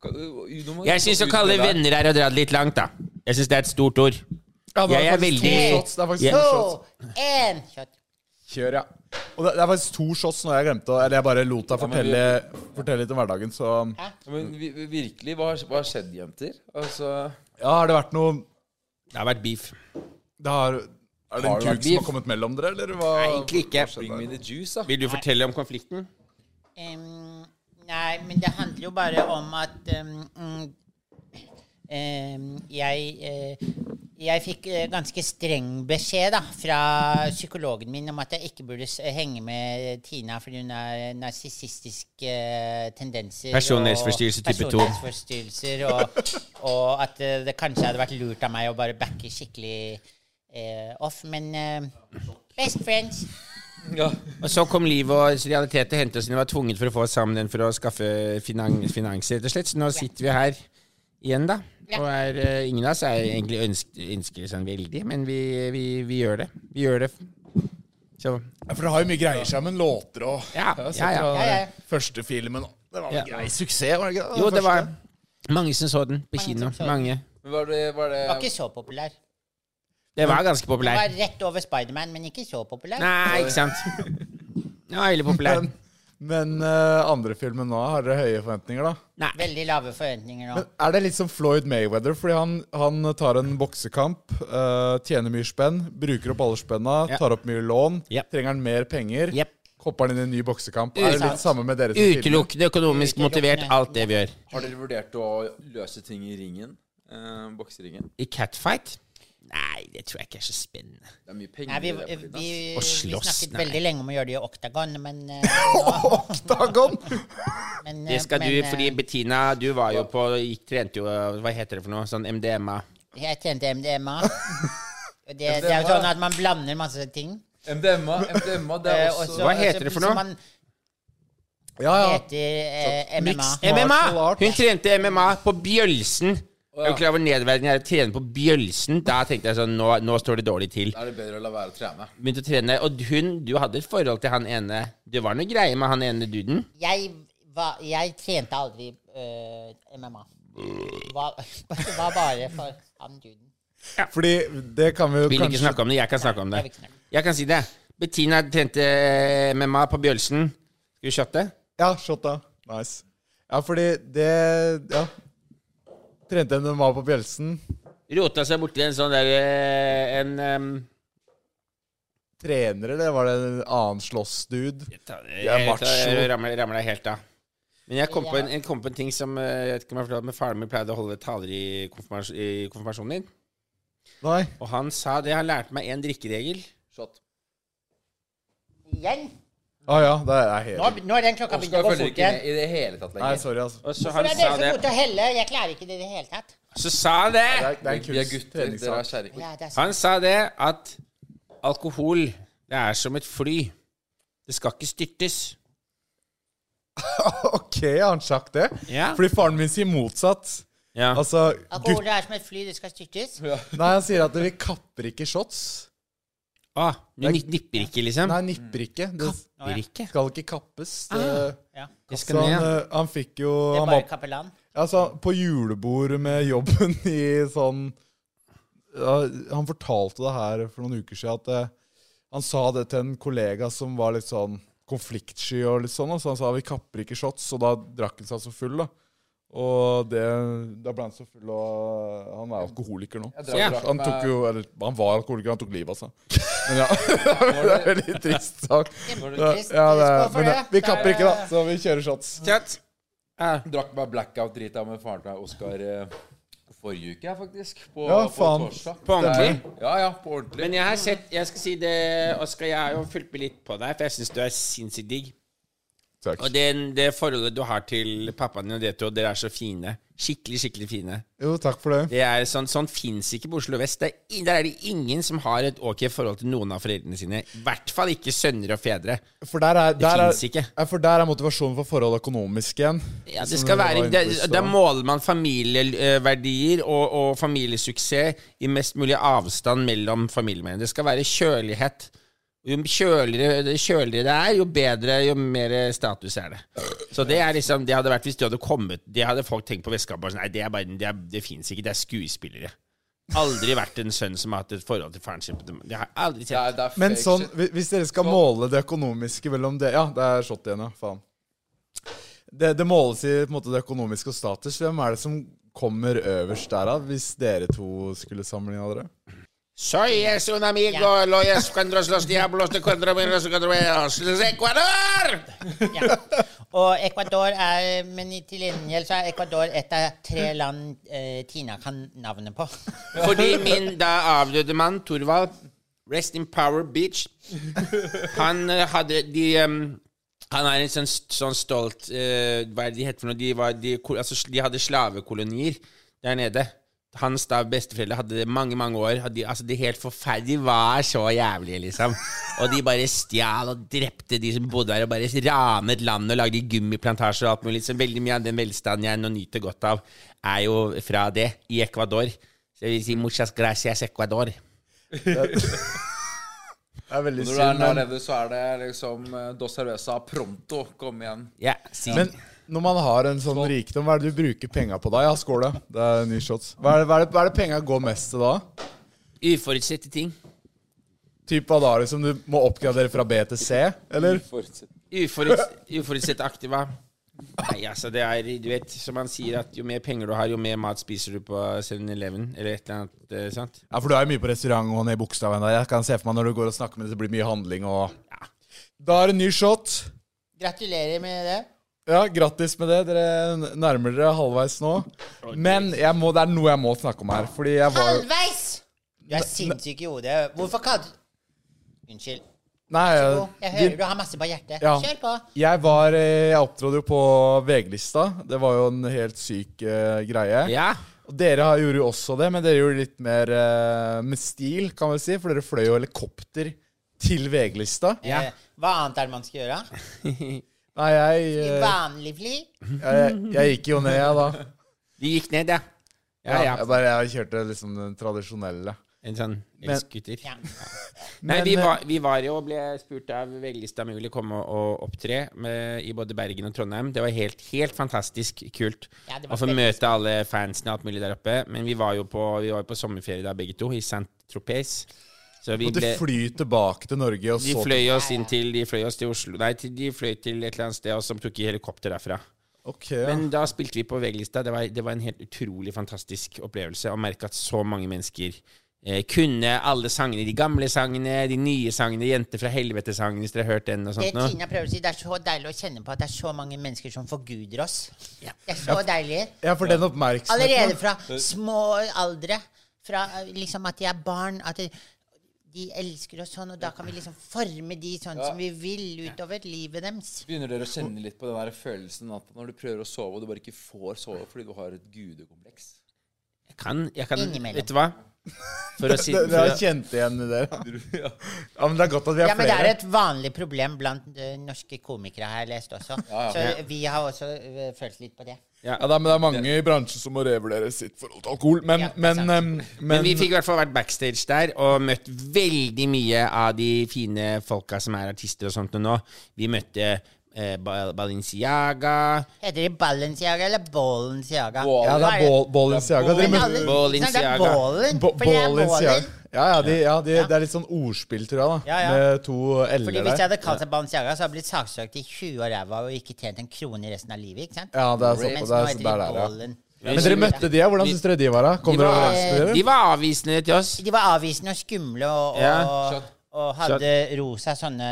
S3: Ka- nå må-
S5: Jeg syns å
S3: ut
S5: kalle
S3: med
S5: det
S3: deg.
S5: venner er å dra det litt langt, da. Jeg syns det er et stort ord.
S6: Ja, det
S5: Jeg er
S6: faktisk to
S5: veldig-
S6: shots, Det er faktisk
S5: Jeg-
S6: to shots.
S4: To, én Shot.
S6: Kjør, ja. Og det, det er faktisk to shots når jeg glemte å- Eller jeg bare lot deg
S3: Ja, men vi-
S6: fortelle, fortelle litt om hverdagen, så
S3: Ja, Men vi- vi- virkelig, hva har, hva har skjedd, jenter? Altså,
S6: Ja, har det vært noe
S5: Det har vært beef.
S6: det har, Er det
S3: Har
S6: en
S3: det vært
S6: kuk som
S3: beef?
S6: har kommet mellom dere, eller hva?
S5: Nei, egentlig ikke.
S3: bring me the juice, da.
S5: Vil du fortelle om konflikten?
S4: Em, nei, men det handler jo bare om at em, mm, em, jeg, eh, jeg fikk eh, ganske streng beskjed da, fra psykologen min om at jeg ikke burde s- henge med Tina fordi hun har narsissistiske eh, tendenser. og
S5: Personlighetsforstyrrelse type to.
S4: Personlighetsforstyrrelser, og, og at eh, det kanskje hadde vært lurt av meg å bare backe skikkelig eh, off. Men eh, best friends.
S3: Ja.
S5: Og så kom liv og realitet og hentet oss inn. Vi var tvunget for å få oss sammen igjen for å skaffe finan finanser, rett og slett. Så nå sitter vi her igjen, da.
S4: Ja.
S5: Og er, eh, ingen av oss er egentlig ønsk- ønsker sånn veldig, men vi, vi, vi gjør det. Vi gjør det. Så
S6: Ja, For det har jo mye greier sammen. Låter og
S5: Ja,
S6: Jeg har sett
S5: ja, ja.
S6: fra
S4: Ja, ja.
S6: Første filmen og Det var en
S5: Ja.
S6: grei suksess, var det ikke? det?
S5: Jo,
S6: Den
S5: det var
S6: første.
S5: mange som så den på
S4: Mange
S5: kino.
S4: som så den.
S5: Mange.
S3: Men var det, var
S4: Var ikke
S3: det
S4: så populær.
S5: Det var ganske
S4: Det
S5: populær.
S4: var rett over Spiderman, men ikke så populær.
S5: Nei, ikke sant? Den var veldig populær.
S6: Men, men eh, andre filmen nå, har dere høye forventninger, da?
S5: Nei.
S4: Veldig lave forventninger nå.
S6: Men er det litt som Floyd Mayweather? Fordi han, han tar en boksekamp, eh, tjener mye spenn, bruker opp alle spenna,
S5: Ja.
S6: tar opp mye lån.
S5: Yep.
S6: Trenger han mer penger,
S5: Yep.
S6: hopper han inn i en ny boksekamp. Er det
S5: Utelukkende.
S6: litt samme med dere som filmer?
S5: Utelukkende økonomisk motivert, alt det vi gjør.
S3: Har dere vurdert å løse ting i ringen? Eh, bokseringen?
S5: I catfight Nei, det tror jeg ikke er så spennende.
S3: Det er mye
S4: Nei,
S3: penger
S4: vi,
S3: i det. på
S4: vi,
S3: tiden, ass.
S5: Å
S4: vi
S5: slåss,
S4: snakket
S5: nei.
S4: veldig lenge om å gjøre det i Octagon, men, eh,
S5: (laughs)
S6: (laughs) Dagon!
S4: men eh,
S5: Det skal
S4: men,
S5: du,
S4: eh,
S5: fordi Bettina, du var jo på gikk, Trente jo Hva heter det for noe? Sånn MDMA.
S4: Jeg trente
S5: (laughs)
S4: MDMA. Og det, det er jo sånn at man blander masse ting.
S3: MDMA, MDMA, det
S4: Eh,
S3: er
S4: og
S3: også
S4: så-
S5: Hva heter det for
S4: så
S5: noe?
S4: Man
S6: Ja, ja.
S4: heter eh,
S6: Mixed
S4: MMA.
S5: MMA!
S6: Martial art.
S5: Hun trente MMA på Bjølsen. Er du klar over nedverdigende er å trene på Bjølsen? Da tenkte jeg sånn, nå, nå står det dårlig til.
S3: Da er det bedre å la være å trene.
S5: Begynte å trene, og hun, du hadde et forhold til han ene. Det var noe greie med han ene duden.
S4: Jeg, var- jeg trente aldri eh, MMA. Det var, (laughs) det var bare for han duden.
S6: Fordi det kan vi jo
S5: Vil ikke
S6: kanskje
S5: snakke om det, jeg kan snakke om det.
S4: Jeg vil ikke snakke.
S5: Jeg kan si det. Bettina trente eh, MMA på Bjølsen. Skal vi shotte?
S6: Ja, shot da. Nice. Ja, fordi det Ja. Trente MMA på Bjelsen.
S5: Rota seg borti en sånn der eh, En em,
S6: Trenere, det var det en annen slåssdude.
S5: Jeg, tar- jeg,
S6: macho.
S5: tar- jeg ramler, ramler deg helt av. Men jeg kom, på en, jeg kom på en ting som eh, Jeg vet ikke om jeg har fortalt, men faren min pleide å holde taler i, konfirmas i konfirmasjonen din.
S6: Nei.
S5: Og han sa det. Han lærte meg en drikkeregel.
S3: Shot.
S4: Igjen?
S6: Å Ah, ja, det er
S4: Nå,
S6: helt
S4: nå er den klokka begynt
S3: Oskar
S4: å gå
S3: følger
S4: fort
S3: ikke
S4: igjen.
S3: med i det hele tatt
S6: Nei,
S3: lenger.
S6: sorry, altså.
S5: Og så
S4: For
S5: han
S4: det er
S5: sa
S4: dere som
S5: det.
S4: går til å helle. Jeg klarer ikke det i det hele tatt.
S5: Så sa han
S6: Det
S5: det!
S6: er, det er en
S3: Vi er
S6: kunst.
S3: gutter, dere er
S6: treningssak.
S3: kjerringer.
S4: Ja, det er sant.
S5: Han sa det at alkohol, det er som et fly. Det skal ikke styrtes.
S6: (laughs) OK, har han sagt det?
S5: Ja.
S6: Fordi faren min sier motsatt.
S5: Ja.
S6: Altså, gutt...
S4: Alkohol er som et fly, det skal styrtes.
S6: Nei, han sier at vi kapper ikke shots.
S5: Ah, du ni- nipper ikke, liksom?
S6: Nei, nipper ikke. Det
S5: Nipper ikke.
S6: skal ikke kappes. Det...
S4: Ja.
S5: Det
S6: Så
S5: Ah. skal
S6: han,
S5: ned.
S6: eh, han fikk jo
S4: Det er
S6: han
S4: bare
S6: var,
S4: kapellan.
S6: altså, På julebord med jobben i sånn ja, Han fortalte det her for noen uker siden at eh, han sa det til en kollega som var litt sånn konfliktsky og litt sånn. og Så han sa vi kapper ikke shots, og da drakk han seg så full, da. Og det, da ble han så full, og han er alkoholiker nå.
S3: Jeg
S6: Så
S3: drakk-
S6: han tok jo Eller han var alkoholiker, han tok livet av seg. Men ja, (laughs) det er en veldig trist sak.
S4: Kjempetrist.
S6: Ja, det,
S4: Skål for
S6: men
S4: det.
S6: vi
S4: Der
S6: kapper
S4: er-
S6: ikke, da, så vi kjører shots.
S5: Tjatt. Ah.
S3: Drakk meg blackout drit av med faren til meg, Oskar eh, forrige uke, jeg, faktisk. På,
S6: Ja,
S3: på
S6: faen.
S3: torsdag.
S5: På ordentlig?
S3: Det er- Ja, ja, på ordentlig.
S5: Men jeg har sett Jeg skal si det, Oskar, jeg har jo fulgt med litt på deg, for jeg syns du er sinnssykt digg.
S6: Takk.
S5: Og det, det forholdet du har til pappaen din og dere to, dere er så fine. Skikkelig, skikkelig fine.
S6: Jo, takk for det.
S5: Det er sånn, sånn fins ikke på Oslo vest. Det er, i- der er det ingen som har et ok forhold til noen av foreldrene sine. I hvert fall ikke sønner og fedre.
S6: For der er, der er,
S5: finnes ikke.
S6: Ja, for der er motivasjonen for forhold økonomisk igjen.
S5: Ja, det
S6: Som
S5: skal
S6: vi var
S5: være,
S6: inne på
S5: det,
S6: i stad.
S5: Da måler man familieverdier og, og familiesuksess i mest mulig avstand mellom familiemedlemmene. Det skal være kjølighet. Jo kjøligere, det kjøligere det er, jo bedre, jo mer status er det. Så det er liksom, det hadde vært hvis du hadde kommet Det hadde folk tenkt på Vestkampen og sånn, Nei, det, er bare, det, er, det fins ikke, det er skuespillere. Aldri vært en sønn som har hatt et forhold til faren sin. Det har jeg aldri
S3: Det
S5: sett.
S3: er, det er
S6: Men
S3: fake
S6: sånn,
S3: shit.
S6: hvi- hvis dere skal måle det økonomiske mellom det Ja, det er shot igjen, ja. Faen. Det, det måles i på en måte, det økonomiske og status. Hvem er det som kommer øverst derav, hvis dere to skulle sammenligne dere?
S5: Soy es un amigo, lo es cuando los diablos te cuadro, los cuadros, Ecuador!
S4: Ja. Og Ecuador er Men i- til gjengjeld så er Ecuador et av tre land eh, Tina kan navnet på. (laughs)
S5: Fordi min da avdøde mann, Thorvald Rest in power, bitch. Han eh, hadde de em, Han er en sånn, sånn stolt eh, Hva er det de heter for noe? De, var, de, ko- altså, de hadde slavekolonier der nede. Hans da besteforeldre hadde det mange mange år. Hadde, de- altså, de helt forferdelige De var så jævlige, liksom. Og de bare stjal og drepte de som bodde her, og bare ranet landet og lagde gummiplantasjer og alt mulig. Så veldig mye av den velstanden jeg nå nyter godt av, er jo fra det, i Ecuador. Så jeg vil si muchas gracias, Ecuador.
S6: Det er veldig
S3: Når du er
S6: synd.
S3: der
S6: Men,
S3: nede, så er det liksom eh, Dos Cerveza pronto. Kom igjen.
S5: Ja, si.
S6: men når man har en sånn rikdom, hva er det du bruker penga på da? Ja, skål, da. Det er nye shots. Hva er det, hva er det, hva er det penga går mest til da?
S5: Uforutsette ting.
S6: Typ hva da, liksom? Du må oppgradere fra B til C, eller?
S3: Fortsett.
S5: Uforuts uforutsette aktiva. Nei, altså, det er Du vet, som han sier, at jo mer penger du har, jo mer mat spiser du på 7-Eleven, eller et eller annet. eh, sant?
S6: Ja, for du er jo mye på restaurant og ned i bokstaven. Jeg kan se for meg når du går og snakker med det, så blir det mye handling og Da er det ny shot.
S4: Gratulerer med det.
S6: Ja, grattis med det. Dere nærmer dere halvveis nå. Men jeg må, det er noe jeg må snakke om her, fordi jeg var
S4: Halvveis! Du er sinnssyk i hodet. Hvorfor kalte Unnskyld.
S6: Nei,
S5: Eh,
S4: Jo, jeg hører
S6: vi-
S4: du har masse på hjertet.
S6: Ja.
S4: Kjør på.
S6: jeg var eh, Jeg opptrådte jo på VG-lista. Det var jo en helt syk eh, greie.
S5: Ja.
S6: Og dere har- gjorde jo også det, men dere gjorde litt mer eh, med stil, kan vi si. For dere fløy jo helikopter til VG-lista.
S4: Eh, Hva annet er det man skal gjøre?
S6: Nei, jeg,
S4: I
S6: eh,
S4: vanlig fly?
S6: jeg, jeg gikk jo ned, jeg, da.
S5: Du gikk ned, ja. Ja, ja.
S6: Jeg, bare, jeg kjørte liksom den tradisjonelle.
S5: En sånn
S6: Men-
S5: skuter.
S4: Ja.
S5: Nei,
S6: Men,
S5: vi
S6: eh,
S5: var, vi var jo og ble spurt av VG-lista om vi ville komme og og opptre med, i både Bergen og Trondheim. Det var helt, helt fantastisk kult
S4: Ja, det var
S5: å få
S4: veldig
S5: møte alle fansene og alt mulig der oppe. Men vi var jo på, vi var jo på sommerferie da, begge to, i Saint-Tropez. Så vi
S6: Måtte
S5: ble
S6: fly tilbake til Norge, og
S5: De
S6: så
S5: fløy oss inn til De fløy oss til Oslo Nei, til, de fløy til et eller annet sted, og som tok i helikopter derfra.
S6: Ok, ja.
S5: Men da spilte vi på VG-lista. Det var, det var en helt utrolig fantastisk opplevelse å merke at så mange mennesker eh, kunne alle sangene. De gamle sangene, de nye sangene, Jenter fra helvete-sangen, hvis dere har hørt den og
S4: Det
S5: sånt noe.
S4: Tina prøver å si, det er så deilig å kjenne på at det er så mange mennesker som forguder oss. Det er så deilig.
S6: ja, for den oppmerksomheten
S4: Allerede fra små aldre, fra eh, liksom at de er barn, at de, de elsker oss sånn, og da kan vi liksom forme de sånn som vi vil utover livet deres.
S3: Begynner dere å kjenne litt på den der følelsen at når du prøver å sove, og du bare ikke får sove fordi du har et gudekompleks?
S5: Jeg kan, jeg kan
S4: Innimellom.
S5: Vet du hva? For å si
S6: Dere
S5: for
S6: har
S5: å,
S6: kjent igjen i det? (laughs) Ja, men det er godt at vi er
S4: Ja, men det
S6: flere.
S4: er et vanlig problem blant eh, norske komikere, har jeg lest også. Så vi har også eh, følt litt på det.
S6: Ja, da, men det er mange i bransjen som må revurdere sitt forhold til alkohol. Men,
S4: Ja, det er
S6: men,
S4: sant.
S6: em, men,
S5: Men vi fikk i hvert fall vært backstage der og møtt veldig mye av de fine folka som er artister og sånt nå. Vi møtte eh, Ba- Balenciaga
S4: Heter de Balenciaga eller Balenciaga?
S6: Ja, det er Bal- Balenciaga. Dere
S4: Men
S6: møtte-
S4: alle- Nei,
S5: Balenciaga.
S4: det er Balen,
S6: Ba-
S4: for det er
S6: Balenciaga.
S4: Balen.
S6: Ja, ja, de, ja de, det er litt sånn ordspill, tror jeg, da.
S4: Ja, ja.
S6: Med to
S4: Fordi
S6: l-er
S4: Hvis jeg
S6: der.
S4: hadde kalt seg Balenciaga, så hadde jeg blitt saksøkt i 20 år ræva og ikke tjent en krone resten av livet. ikke sant?
S6: Ja, det er sånn.
S4: Mens nå heter
S6: Det er, sånn
S4: de
S6: der, der, ja.
S4: Balen.
S6: Men dere møtte de, ja. Hvordan syns dere de var, da? Kom
S5: De
S6: dere
S5: var-
S6: overens med
S5: De
S6: dere?
S5: var avvisende til oss.
S4: De var avvisende og skumle og,
S5: Ja,
S4: og, og hadde rosa sånne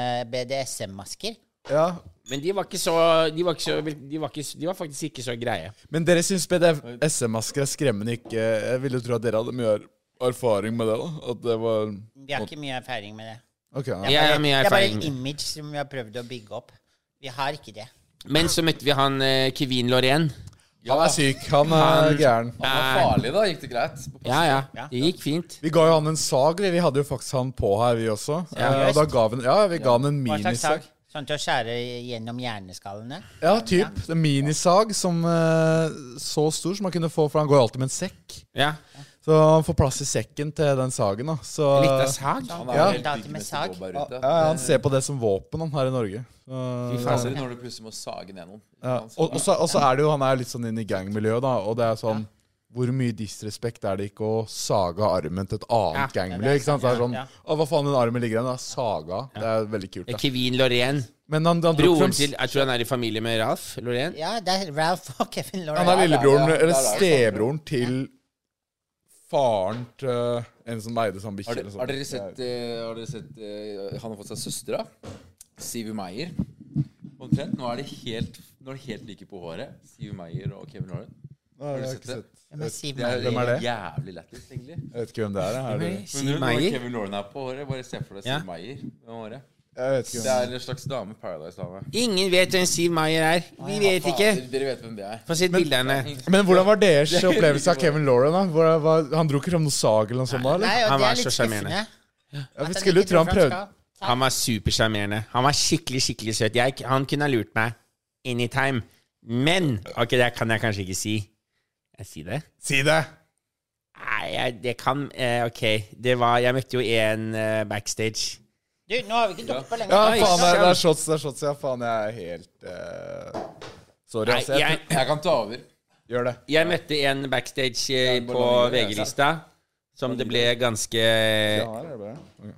S4: BDSM-masker.
S6: Ja.
S5: Men de var ikke så De var, ikke så, de var, ikke, de var faktisk ikke så greie.
S6: Men dere syns BDSM-masker er skremmende, ikke Jeg ville tro at dere hadde mye er- erfaring med det, da. At det var
S4: Vi har ikke mye erfaring med det.
S6: Ok, ja.
S5: Jeg har mye
S4: det er bare
S5: erfaring.
S4: et image som vi har prøvd å bygge opp. Vi har ikke det.
S5: Men så møtte vi han eh, Kevin Lorraine.
S6: Han er syk. Han er gæren.
S3: Det var farlig, da. Gikk det greit?
S5: Ja, ja. Det gikk fint.
S6: Vi ga jo han en sag. Vi, vi hadde jo faktisk han på her, vi også. Eh, og da ga vi, ja, vi ga han en
S4: Hva slags
S6: minisag.
S4: sag? Sånn til å skjære gjennom hjerneskallene?
S6: Ja, typ. En minisag som eh, så stor som man kunne få, for han går jo alltid med en sekk.
S5: Ja.
S6: Så han får plass i sekken til den sagen, da. Så
S5: Litt av sag.
S3: Han er
S6: Ja.
S3: jo helt
S4: Da til
S3: ute
S4: med
S3: med
S4: sag.
S3: sitt jobb her
S6: ja,
S3: ute.
S6: ja, han ser på det som våpen han her i Norge. Så-
S5: Fy
S3: Faser
S5: faen.
S3: når du plutselig må sage ned noen.
S6: ja. og, og, så, og så er det jo Han er litt sånn inn i gangmiljøet, da. Og det er sånn Hvor mye disrespekt er det ikke å saga armen til et annet
S5: Ja.
S6: gangmiljø? Ikke sant? Så Det er sånn
S4: Ja.
S6: Å, hva faen, den armen ligger der? Den er saga. Det er veldig kult. da
S5: Eh, Kevin Lorraine.
S6: Men han, han dro
S5: Broren
S6: frem
S5: til Jeg tror han er i familie med Ralf Lorraine.
S4: Ja, det er Ralph og Kevin
S6: Han er
S4: Lauren.
S6: lillebroren,
S3: ja, ja,
S6: eller
S3: ja, ja.
S6: stebroren til faren til en som eide sånn bikkje.
S3: Har,
S6: eller
S3: de-
S6: sånt.
S3: har dere sett, eh, har dere sett eh, Han har fått seg søstera. Siv Meyer. Omtrent. Nå er de helt, nå er de helt like på håret. Siv Meyer og Kevin Lauren.
S6: Nei, jeg
S3: du
S6: har
S3: sett
S6: ikke
S3: det?
S6: sett.
S4: Hvem er Siv
S3: Det er,
S6: Hvem er det?
S3: jævlig lættis, egentlig.
S6: Jeg vet ikke hvem det er. jeg. er det?
S3: Men
S5: Siv
S3: når- når
S5: Meyer.
S3: Kevin Lauren er på håret, bare se for deg Siv
S5: Ja.
S3: Meyer med håret.
S6: Jeg vet ikke
S3: Det
S6: hvem.
S3: er en slags dame Paradise-dame.
S5: Ingen vet hvem Siv Meyer er. Vi vet ikke.
S3: Fader, Dere vet hvem det er.
S5: Få se et bilde av henne.
S6: Men hvordan var
S3: (laughs)
S6: deres opplevelse av Kevin Lauren? da? Hvor, hva- han dro ikke fram noe sag eller noe sånt?
S4: Nei,
S6: da, eller?
S4: og
S5: Han
S4: det
S5: var
S4: er litt
S5: så sjarmerende.
S4: skuffende. Sånn
S6: Ja,
S4: at
S6: vi
S4: han
S6: skulle
S4: ikke
S6: tro han
S4: tror
S6: prøvde.
S4: skal-
S5: Han var supersjarmerende. Han var skikkelig, skikkelig søt. Jeg, han kunne ha lurt meg anytime. Men Ok, det kan jeg kanskje ikke si. Jeg si det?
S6: Si det!
S5: Nei, jeg, det kan eh, Ok, det var Jeg møtte jo en eh, backstage.
S4: Du, nå har vi ikke drukket på lenge.
S6: Ja,
S5: Oi,
S6: faen, det er, det
S5: skjønn.
S6: er shots, det er shots. Ja, faen, jeg er helt eh, Sorry,
S5: Nei,
S6: altså. Jeg,
S5: jeg,
S3: Jeg kan ta over.
S6: gjør det.
S5: jeg møtte en backstage eh,
S3: bare
S5: på
S3: la den ligge,
S5: VG-lista som det ble ganske
S6: altså. Ja,
S5: Jeg
S6: her er det bare. Ok.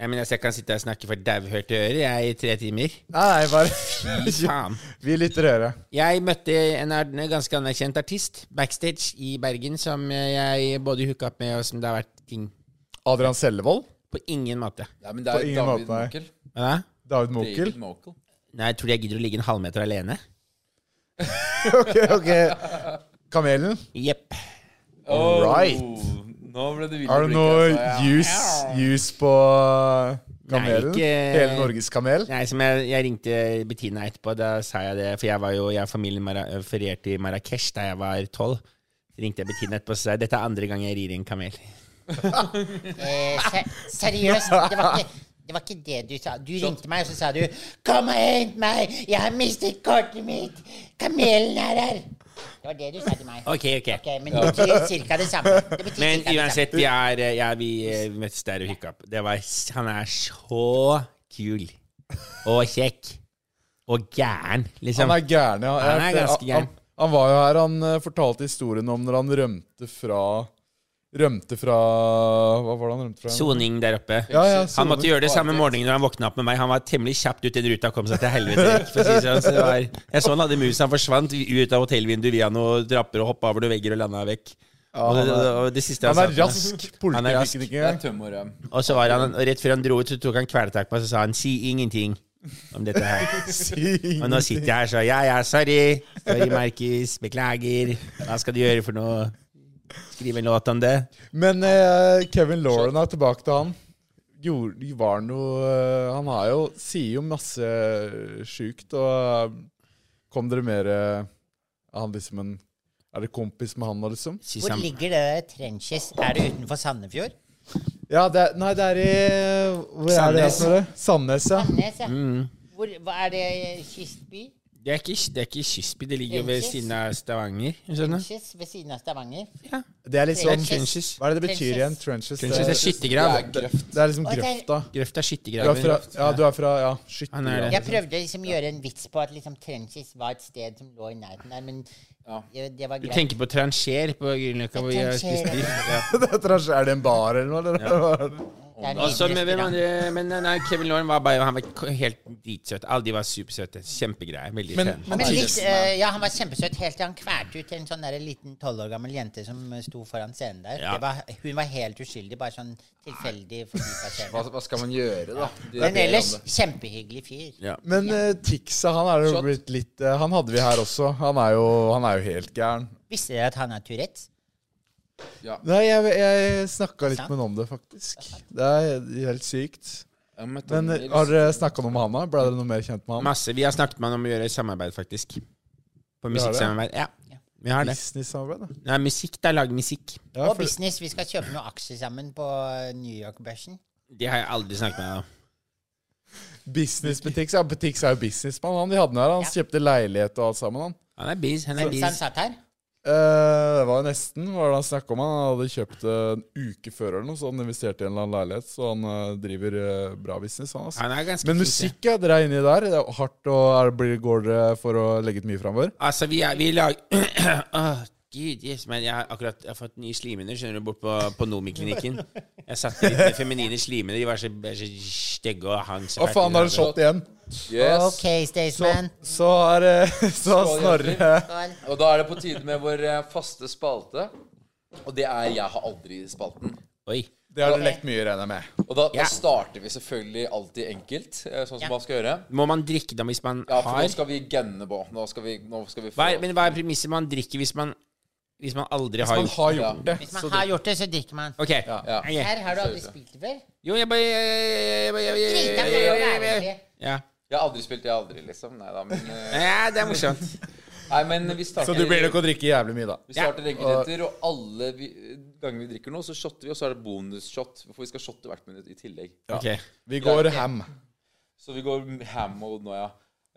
S5: mener, jeg kan sitte og snakke for dauhørte ører jeg i tre timer.
S6: Nei, bare (laughs)
S5: Faen.
S6: Vi lytter øre.
S5: Jeg møtte en ar- en ganske anerkjent artist backstage i Bergen som eh, jeg både hooka opp med, og som det har vært ting
S6: Adrian Sellevold?
S5: På ingen måte.
S3: Nei, men det er
S6: På ingen
S3: David
S6: måte,
S3: Mokel.
S5: Hva da?
S6: David Mokel?
S3: David Mokel.
S5: Nei, tror du jeg gidder å ligge en halvmeter alene?
S6: (laughs) Ok, ok. Kamelen?
S5: Jepp.
S6: All right.
S3: Oh, Nå ble det altså.
S6: Er det noe jus, jus på eh, kamelen?
S5: altså. Nei, ikke-
S6: Hele Norges kamel?
S5: Nei, som jeg, jeg ringte Bettina etterpå, da sa jeg det, for jeg var jo, jeg og familien Mara, ferierte i Marrakech da jeg var tolv. Så ringte jeg Bettina etterpå og sa jeg, dette er andre gang jeg rir i en kamel.
S4: Eh, se- seriøst, det var ikke det var ikke det du sa. Du ringte meg, og så sa du 'Kom og hent meg! Jeg har mistet kortet mitt! Kamelen er her!' Det var det du sa til meg.
S5: Ok, ok.
S4: Ok, men det betyr ca. det samme. Det betyr
S5: Men
S4: cirka det
S5: uansett,
S4: samme.
S5: jeg, er, jeg, vi eh, møttes der og hooka opp. Det var, han er så kul og kjekk og gæren, liksom.
S6: Han er gæren, ja.
S5: Han er
S6: Jeg-
S5: ganske gæren.
S6: Han, han var jo her, han eh, fortalte historien om når han rømte fra Rømte fra Hva var det han rømte fra?
S5: Soning der oppe.
S6: Ja, ja,
S5: han måtte
S6: soning.
S5: gjøre det samme morgenen når han våkna opp med meg. Han var temmelig kjapt ut den ruta og kom seg til helvete. vekk, For å si det sånn. så det var, jeg så han hadde mus, han forsvant ut av hotellvinduet via noen trapper og hoppa over noen vegger og landa vekk. Og,
S6: han
S5: det,
S6: er-
S5: og det siste (laughs)
S6: Han
S5: han
S6: er
S5: sa til meg-
S6: rask. Politiet
S5: rask.
S6: fikk den ikke
S3: Det er
S6: engang.
S3: tømmerrøm.
S5: Og så var han, og rett før han dro ut, så tok han kvelertak på meg og så sa han, si ingenting om dette
S6: (laughs)
S5: her. Og nå sitter jeg her så ja, ja, sorry. Sorry, Markus. Beklager. Hva skal du gjøre for noe? Skrive en låt om det?
S6: Men eh, Kevin Lauren er tilbake til han. Gjorde, var noe eh, Han har jo, sier jo masse sjukt, og eh, kom dere mer eh, Han liksom en Er det kompis med han nå, liksom?
S5: Synes
S4: Hvor
S5: han-
S4: ligger det der trenches? Er det utenfor Sandefjord?
S6: Ja, det er, nei, det er i Hvor er det?
S5: Sandnes.
S6: for noe? Sandnes, ja.
S4: Nes, ja. Mm. Hvor, hva er det kystby?
S5: Det er ikke, det er ikke Kysby, det ligger jo ved
S4: Trenches.
S5: siden av Stavanger. Skjønner du?
S4: Trenches ved siden av Stavanger?
S6: Det er liksom
S4: Trenches.
S5: Trenches.
S6: Hva er det det betyr
S4: Trenches.
S6: igjen? Trenches?
S5: Trenches
S6: det,
S5: er skyttergrav.
S3: Det er grøft.
S6: det er liksom
S4: Og det er-
S6: grøfta.
S5: Grøft er
S6: Du er fra,
S5: skyttergraven.
S6: ja, du er fra ja,
S5: Han er
S6: skyttergrav.
S5: det.
S4: Jeg prøvde liksom å gjøre en vits på at liksom trenches var et sted som lå i nærheten der, men ja, det var
S5: Du
S4: greit.
S5: tenker på Trancher på Grünerløkka, hvor vi har spist
S4: Trancher.
S5: biff. Ja.
S6: Er (laughs) det en bar eller noe? Eller?
S4: Det er en
S5: Og så
S4: liten
S5: med hvem
S4: restaurant.
S5: andre Altså, Men nei, Kevin Lauren var bare Han var k- helt dritsøt. Alle de var supersøte. Kjempegreier. Veldig
S6: Men-
S5: pen.
S4: Men
S6: men-
S4: litt,
S6: Tidesen,
S4: eh, ja, han var kjempesøt helt til han kvalte ut en sånn der liten tolv år gammel jente som eh, sto foran scenen der.
S5: Ja.
S4: Det var, hun var helt uskyldig, bare sånn tilfeldig forbi
S3: Hva,
S4: scenen.
S3: hva skal man gjøre, da? Du ber om
S4: Men
S3: det.
S4: ellers kjempehyggelig fyr.
S5: Ja.
S6: Men eh, Tixa, han er jo
S3: Shot.
S6: blitt litt eh, Han hadde vi her også. Han er jo, han er jo helt gæren.
S4: Visste dere at han har Tourettes?
S6: Nei, jeg, jeg snakka litt
S4: Sant.
S6: med ham om det, faktisk. Det er helt sykt.
S3: Jeg møtte
S6: Men
S3: han
S6: eh,
S3: i
S6: har dere snakka noe med han, da? Ble dere noe mer kjent med han?
S5: Masse. Vi har snakket med han om å gjøre samarbeid, faktisk. På
S6: har det?
S5: musikksamarbeid. Ja. Vi har det.
S6: Business-samarbeid? da?
S5: Nei, musikk. Det er lag musikk.
S6: Ja,
S4: og
S6: for-
S4: business. Vi skal kjøpe noen aksjer sammen på eh, New York-børsen.
S5: Det har jeg aldri snakket med han om.
S6: Business med Tix. Ja, Tix er jo businessmann. Han de hadde den her, han kjøpte leilighet og alt sammen. han.
S5: Han er biz. Han er
S4: Mens han
S5: biz.
S4: satt her.
S6: Eh, det var jo nesten hva var det han snakka om. Han hadde kjøpt det en uke før eller noe, så han investerte i en eller annen leilighet. Så han eh, driver eh, bra business, han. altså.
S5: Han er ganske
S6: Men
S5: flink, ja.
S6: musikk, ja. Dere er inni der. Det er hardt, og er, det- blir, går dere for å legge ut mye framover?
S5: Altså, vi, er, vi lag... (clears throat) Åh, Gud, yes, men jeg har akkurat jeg har fått nye slimhinner, skjønner du, bort på, på Nomi-klinikken. Jeg satte litt med feminine slimhinner. De var så, bare så stygge og hang så
S6: Å, faen, da er det shot igjen.
S3: Yes.
S4: OK, Staysman.
S6: Så er eh, (laughs) Så har
S3: Skål,
S6: Snorre
S3: Hjertelig. Og da er det på tide med vår eh, faste spalte. Og det er 'Jeg har aldri'-spalten.
S5: Oi.
S6: Det har dere lekt mye, regner jeg med.
S3: Og da,
S5: Ja.
S3: da starter vi selvfølgelig alltid enkelt, eh, sånn som
S4: Ja.
S3: man skal gjøre.
S5: Må man drikke da hvis man
S3: Ja, for nå
S5: har
S3: skal vi genne på. Nå skal vi, nå skal vi få
S5: hva er, Men hva er premisset man drikker hvis man, hvis man aldri har
S6: Man
S5: gjort
S6: har gjort det.
S4: Hvis man har gjort det, så drikker man.
S5: Ok.
S3: Ja.
S5: Ok.
S4: Her har du aldri spilt det før.
S5: Jo, jeg bare jeg bare- jeg bare- jeg
S4: Drita
S5: bare-
S4: kan
S5: jeg
S4: jo
S5: bare- jeg
S4: være
S5: bare-
S4: det.
S5: Ja.
S3: Jeg har aldri spilt, jeg har aldri, liksom. Nei da, men eh,
S5: (laughs) ja, det er morsomt.
S3: Nei, men vi starter
S6: Så du blir nok å drikke jævlig mye, da.
S3: Vi starter enkeltheter, og alle vi, eh, ganger vi drikker noe, så shotter vi, og så er det bonusshot. For vi skal shotte hvert minutt i tillegg.
S5: Ok.
S6: Vi går ham.
S3: Så vi går ham-mode nå, ja.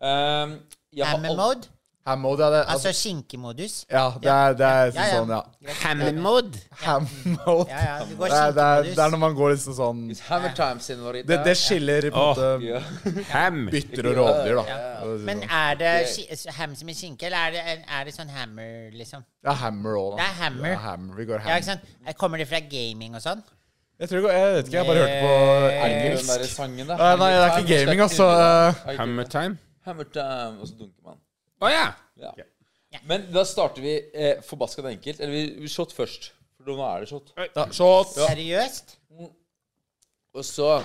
S3: Um, jeg har al-
S4: Hammer-mode.
S6: Ham og det er det.
S4: Altså
S6: Altså,
S4: skinkemodus.
S6: ja, det er, det er
S4: Ja, ja.
S6: sånn, ja.
S5: Hammond.
S6: Ham og
S4: Ja, ja, du går
S6: Det er, det, er, det er
S4: skinkemodus.
S6: når man går liksom sånn
S3: It's hammer time, senorita.
S6: Det, det skiller på
S5: Åh.
S6: en måte
S3: Ja.
S5: Ham.
S6: bytter og rovdyr, da.
S4: Men
S6: sånn.
S4: er det ski- ham som er skinke, eller er det, en- er det sånn hammer, liksom?
S6: Det er hammer òg, da.
S4: Det er hammer.
S6: Ja, hammer. Vi
S4: Ja,
S6: går
S4: ikke
S6: ham.
S4: sant? Eh, Kommer det fra gaming og sånn?
S6: Jeg tror det går, jeg vet ikke, jeg bare hørte
S4: Eh.
S6: på
S3: Er det ikke den
S6: engelsk.
S3: derre sangen, da?
S6: Nei, nei, det er ikke gaming, altså. eh,
S5: Hammer time.
S3: Hammer time, og så dunker man.
S5: Å ja.
S3: Ja. Men da starter vi eh, forbaska enkelt. Eller vi, vi shot først. For nå er det shot.
S6: Da, shot.
S4: Seriøst?
S3: Og så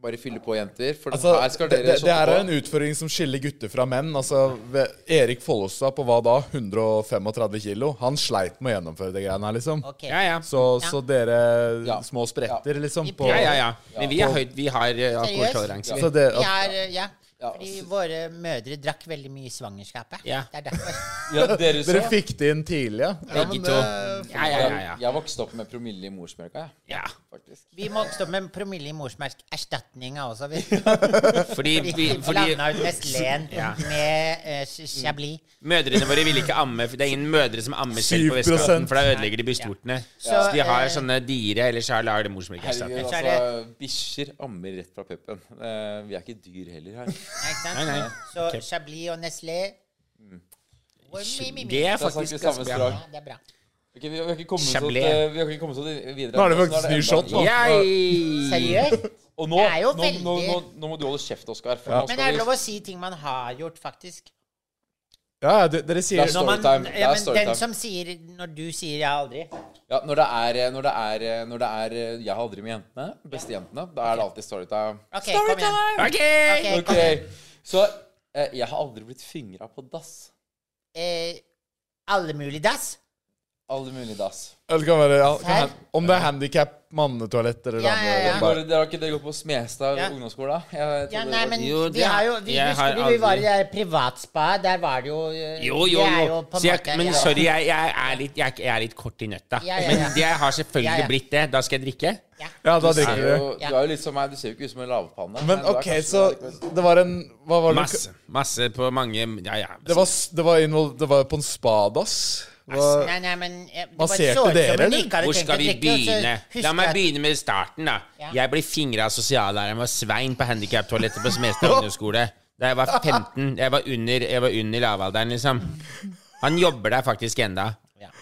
S3: Bare fylle på, jenter. For
S6: Altså,
S3: her skal
S6: det,
S3: dere
S6: det, det her
S3: shotte
S6: er
S3: på.
S6: en utfordring som skiller gutter fra menn. Altså, ved- Erik Follestad på hva da? 135 kilo? Han sleit med å gjennomføre de greiene her, liksom.
S4: Ok.
S5: Ja, ja.
S6: Så, så dere
S3: Ja.
S6: små spretter, liksom. På,
S5: Ja, ja, ja. Men vi, er høyt, vi har eh, alkoholtoleranse.
S6: Så det,
S4: Vi er, eh, ja.
S3: Ja,
S4: Fordi
S3: så-
S4: våre mødre drakk veldig mye i svangerskapet.
S5: Ja.
S4: Det er derfor.
S3: Ja, dere
S6: dere
S3: så.
S6: fikk det inn tidlig, ja? ja
S5: Begge
S6: men
S5: to.
S3: eh,
S6: det-
S5: Ja, ja, ja. ja.
S3: Jeg vokste opp med promille i morsmelka, jeg.
S5: ja.
S3: Faktisk.
S4: Vi må stå med promille i morsmelkerstatninga også. Vi
S5: (laughs) Fordi, vi, fordi
S4: blanda ut
S5: (laughs)
S4: Nestlén med eh, Chablis.
S5: mødrene våre vil ikke amme. For det er ingen mødre som ammer selv på
S6: 7%
S5: Vestkanten, for da ødelegger de brystvortene. Så
S4: Så,
S5: de har
S4: eh,
S5: sånne dire, eller så lager de morsmelkerstatning.
S3: Herregud,
S4: Så er
S3: altså. Bikkjer ammer rett fra puppen. Eh, vi er ikke dyr heller her.
S4: Nei, ikke sant?
S5: Nei, nei.
S4: Så Chablis og Nestlé Hvor mi, mi, mi.
S5: Det er
S3: Det er snakk i
S5: faktisk
S3: samme
S5: ganske bra.
S3: strag.
S4: Ja, det er bra.
S3: Ok, vi, vi har ikke kommet oss opp,
S5: Chablis.
S3: eh, vi har ikke kommet oss opp videre.
S6: Nå er det faktisk ny
S3: enda
S6: shot, da.
S3: en-
S5: Jeg
S4: Seriøst?
S3: Og nå,
S4: Det er jo
S3: nå, nå, nå,
S4: veldig-
S3: nå må du holde kjeft, Oskar. For nå
S4: Men det er
S3: skal
S4: lov
S3: vi
S4: å si ting man har gjort, faktisk.
S6: ja, ja, de- dere sier sånn-
S3: Det er
S4: Når man,
S3: Storytime. Det
S4: ja,
S3: er
S4: men
S3: storytime.
S4: den som sier Når du sier 'jeg har aldri'
S3: ja, når, det er, eh, når, det er, eh, når det er eh, Jeg har aldri med jentene, beste jentene, da er det alltid storytime.
S4: OK, kom igjen. Ok,
S3: Ok,
S4: kom igjen.
S3: Så eh, jeg har aldri blitt fingra på dass.
S4: Eh, alle mulige dass.
S3: Alle mulige dass.
S6: Eller det kan være, ja, det kan,
S4: Her?
S6: hen- Om det er handikap, mannetoalett eller
S4: Ja,
S6: dame...
S4: ja, ja.
S6: bare-
S3: Dere dere har ikke det gått på Smestad
S4: Ja.
S3: ungdomsskole? Jeg
S4: Ja,
S3: trodde
S4: nei,
S3: det var-
S4: men
S5: Jo,
S4: vi
S5: det-
S4: har jo Vi
S5: jeg
S4: husker
S5: har
S4: du vi var i
S5: aldri-
S4: det der privatspaet. Der var det jo eh,
S5: Jo, jo,
S4: det er
S5: jo.
S4: på en
S5: Så jeg,
S4: måte-
S5: men
S4: ja.
S5: sorry, jeg, jeg, er litt, jeg, er- jeg er litt kort i nøtta.
S4: Ja, ja, ja.
S5: Men jeg har
S4: Ja,
S5: selvfølgelig
S4: ja.
S5: blitt det. Da skal jeg drikke.
S4: Ja.
S6: ja, da
S3: Du
S6: drikker
S3: er
S6: dere.
S3: jo, du er jo litt som meg. Du ser jo ikke ut som en lavpanne.
S6: Men
S3: du er
S6: OK,
S3: kanskje-
S6: så det var en Hva var det? du-
S5: Masse. Masse på mange Ja, ja.
S6: Det var, s- det var, innhold, det var på en spadass. Det var-
S4: Nei, nei, men eh, det bare
S6: Man
S4: så
S6: ser til
S4: ut som
S6: dere,
S4: hun
S6: eller?
S4: ikke hadde
S5: Hvor
S4: tenkt
S5: skal
S4: å
S5: vi
S4: drikke, og
S6: altså,
S4: så
S5: begynne?
S4: husker
S5: La meg
S4: jeg-
S5: begynne med starten, da.
S4: Ja.
S5: Jeg ble fingra av sosiallæreren med Svein på handikaptoalettet på
S6: (laughs)
S5: Smestad ungdomsskole da jeg var 15. Jeg var under, jeg var under lavalderen, liksom. Han jobber der faktisk enda.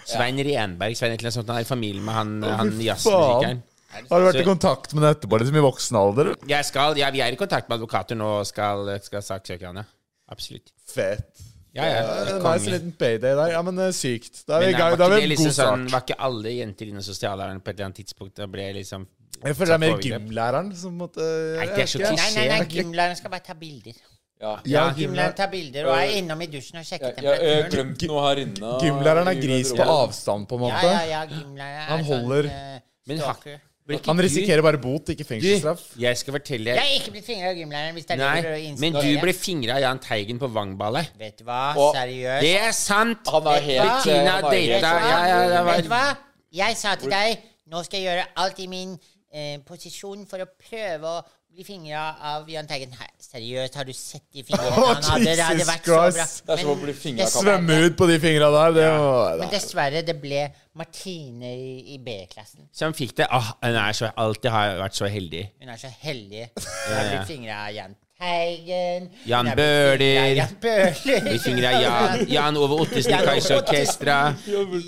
S5: Svein Renberg. Svein et eller annet sånt. Han er i familie med han, han jazzmusikeren.
S6: Har du vært i
S5: Så-
S6: kontakt med det etterpå, liksom i voksen alder?
S5: Jeg skal, ja, vi er i kontakt med advokater nå og skal, skal saksøke han, ja. Absolutt.
S6: Fett.
S5: Ja, ja.
S6: Eh, Nice
S5: konge.
S6: liten payday der. Ja, men eh, sykt. Da er vi
S5: Men
S6: i
S5: var
S6: gang. Da
S5: ikke
S6: er vi
S5: det
S6: en
S5: liksom
S6: god
S5: sånn,
S6: start.
S5: var ikke alle jenter innen sosiallæreren på et eller annet tidspunkt? Da ble jeg liksom
S6: Jeg føler det er mer
S5: Takk for
S6: gymlæreren som måtte eh,
S5: Nei, det er
S6: jeg
S5: så
S6: vet ikke.
S4: Nei, nei, nei,
S5: Skjer.
S4: gymlæreren skal bare ta bilder.
S3: Ja.
S6: Ja,
S4: Gymlæreren
S6: gymlæreren,
S4: tar bilder og er innom i dusjen og sjekker
S3: Jeg jeg- jeg har
S4: temperaturen.
S3: glemt eh, noe her inne. og-
S6: gymlæreren
S3: i
S6: er gris på
S3: garderoben.
S6: avstand, på en
S4: Ja,
S6: måte.
S4: ja, ja, gymlæreren er
S6: Han holder-
S4: sånn, eh,
S5: Men ha-
S4: stalker.
S5: Blir ikke
S6: Han
S5: du-
S6: risikerer bare bot, ikke fengselsstraff.
S5: Du, jeg skal fortelle
S4: Jeg er ikke blitt fingra av gymlæreren hvis det er det du prøver
S5: Nei,
S4: å
S5: men
S4: insinuere.
S5: du ble fingra av Jan Teigen på Vangballet.
S4: Vet du hva?
S3: Og-
S4: Seriøst.
S5: Det er sant!
S3: Han er
S4: Vet du
S3: helt eh,
S4: hva?
S5: Bettina
S3: han er helt-
S5: data-
S4: Vet du hva?
S5: Ja, ja, det var-
S4: Vet du hva? Jeg sa til deg Nå skal jeg gjøre alt i min eh, posisjon for å prøve å bli fingra av Jahn Teigen. Hæ, Seriøst, har du sett de fingrene
S6: Å,
S4: han hadde? Det hadde
S6: Jesus
S4: vært så bra.
S6: Christ.
S3: Det er som å
S4: Men
S3: bli fingret av
S4: dessverre-
S3: katten.
S6: Svømme ut på de fingra der, det var
S4: Men dessverre, det ble Martine i, i B-klassen.
S5: Så han fikk det. Åh, han er så, alltid har vært så heldig.
S4: Hun er så
S5: (laughs)
S4: heldig. Hun har blitt fingra av Jahn Teigen. Hun
S5: Jan
S4: har blitt fingret av
S5: Bøhler.
S4: Jan Bøhler.
S5: Blir fingra av Jan, Jan Ove Ottesen i
S4: Jan Ove
S5: Kaiser Orkestra.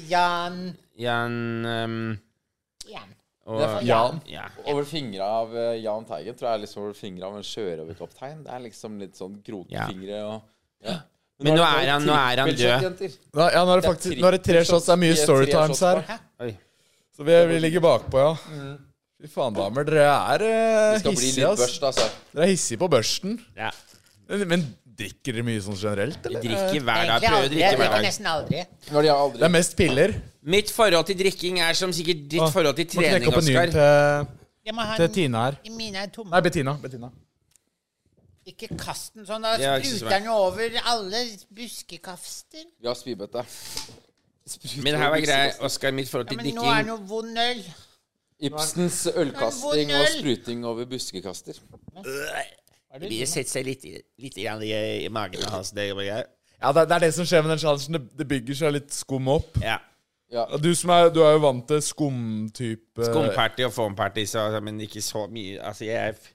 S4: Jan
S5: Jan ehm,
S4: Jan.
S5: og
S6: Jan.
S5: Ja.
S3: Å bli fingra av eh, Jahn Teigen tror jeg er liksom å bli fingra av en sjørøverkaptein. Det er liksom litt sånn krokfingre og ja.
S5: Men nå er han- nå er han død.
S6: Nei, Ja, nå er det faktisk Nå er det tre shots. Det er mye storytimes her.
S5: Oi.
S6: Så vi, vi ligger bakpå, ja.
S5: Mm.
S6: Fy faen, damer. Dere er
S3: Det
S6: eh,
S3: skal bli
S6: hissige,
S3: litt
S6: ass.
S3: børst, altså.
S6: Dere er hissige på børsten.
S5: ja.
S6: Men, men drikker dere mye sånn generelt, eller?
S5: Drikker hver dag.
S4: Egentlig
S5: Prøver å
S4: aldri.
S5: drikke
S4: Jeg
S5: hver
S4: drikker
S5: dag.
S4: nesten aldri.
S3: Når de har
S6: Det
S3: aldri
S6: er mest piller.
S5: Mitt forhold til drikking er som sikkert ditt forhold til
S6: Må
S5: trening,
S6: knekke opp en ny
S5: Oskar.
S6: til,
S4: Jeg må ha
S6: til
S4: en-
S6: Tine her.
S4: Mine er tomme.
S6: Nei, Bettina. Bettina.
S4: Ikke kast den sånn. Da
S5: Ja, ikke så
S4: spruter den jo over alle buskekaster.
S3: Vi har spybøtte.
S5: Men her var greia, Oskar, mitt forhold
S4: Ja,
S5: til
S4: men nå er den
S5: drikking
S4: jo vond øl.
S3: Ibsens ølkasting og spruting over buskekaster.
S5: Det setter seg litt, litt grann i, i magen hans. Det er greier.
S6: Ja, det, er- det er det som skjer med den challengen. Det, det bygger seg litt skum opp.
S5: Ja.
S3: Ja.
S6: Og Du som er, du er jo vant til skumtype
S5: Skumparty og foamparty, så, så- men ikke så mye. Altså, jeg er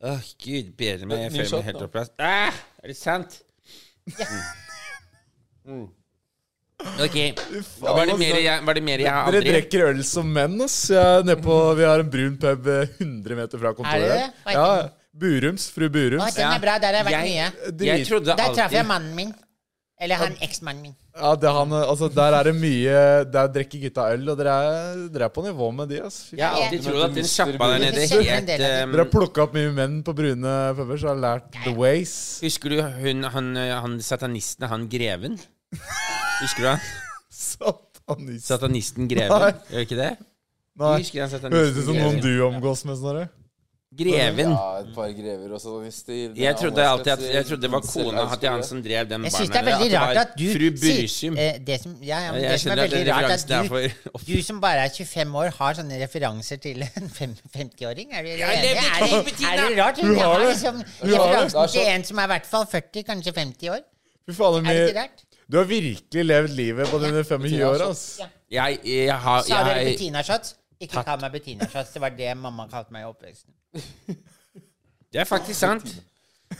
S5: Åh, gud bedre meg. Jeg
S3: Ny
S5: føler
S3: shot
S5: meg helt
S3: nå.
S5: oppløst. Ah, er det sant?
S4: Mm.
S5: Mm. Mm. Ok. Hva var det mer jeg, var det mer jeg har
S6: Dere
S5: aldri Mhm.
S6: drikker øl som menn, ass. Jeg er nede på, vi har en brun pub eh, 100 meter fra
S4: Er
S6: kontoret.
S4: det det? Hva heter
S6: Ja, Burums. Fru
S4: Å,
S6: Burums.
S4: den
S5: Ja.
S4: er bra. Der har jeg vært
S5: Jeg-
S4: mye.
S5: Jeg
S6: Drit.
S5: trodde
S4: Der traff jeg
S5: alltid
S4: mannen min. Eller han eksmannen min.
S6: Ja, det, han, altså, der er det mye Der drikker gutta øl, og dere er, dere er på nivå med de. ass. Fy
S5: Jeg har alltid trodd at den sjappa der nede
S4: Jeg kjenner en del av
S5: helt
S6: Dere
S5: um,
S6: har plukka opp mye menn på brune puber, så har lært the ways. (laughs)
S5: Husker du hun, han, han satanisten, han greven? Husker du han?
S6: Satanist.
S5: Satanisten
S6: Nei.
S5: Greven, gjør ikke det?
S6: Nei.
S5: Du husker den
S6: Høres
S5: satanisten
S6: ut som noen
S5: Greven?
S6: du omgås med, Snorre.
S5: Greven.
S3: Ja, et par grever og sånn.
S5: Jeg trodde alltid at Jeg trodde det var kona til han som drev den
S4: Jeg
S5: baren.
S4: syns det er
S5: der,
S4: veldig
S5: det
S4: rart
S5: var
S4: at du
S5: Fru
S4: sier-
S5: Byrsum.
S4: eh, det som, ja, ja, men det
S5: Jeg
S4: som er
S5: skjønner at
S4: veldig
S5: den
S4: rart, er
S5: referansen er
S4: at du,
S5: for opp-
S4: du som bare er 25 år, har sånne referanser til en fem- 50-åring. Er du enig?
S5: Jeg
S4: Er det,
S5: lever ikke på tiden,
S4: er det
S5: da.
S4: rart?
S6: Du
S4: Jeg
S6: har
S4: har
S6: det.
S4: liksom
S3: Du har det. Det er
S4: referansen
S3: så-
S4: til en som er i hvert fall 40, kanskje 50 år.
S6: Fy faen,
S4: Er det ikke
S6: Emil.
S4: rart?
S6: Du har virkelig levd livet på dine 25 år, ass.
S5: Jeg, jeg har
S4: Sa dere
S5: jeg,
S4: Bettina Shots? Ikke kall meg Bettina Shots. Det var det mamma kalte meg i oppveksten.
S5: Det er faktisk sant.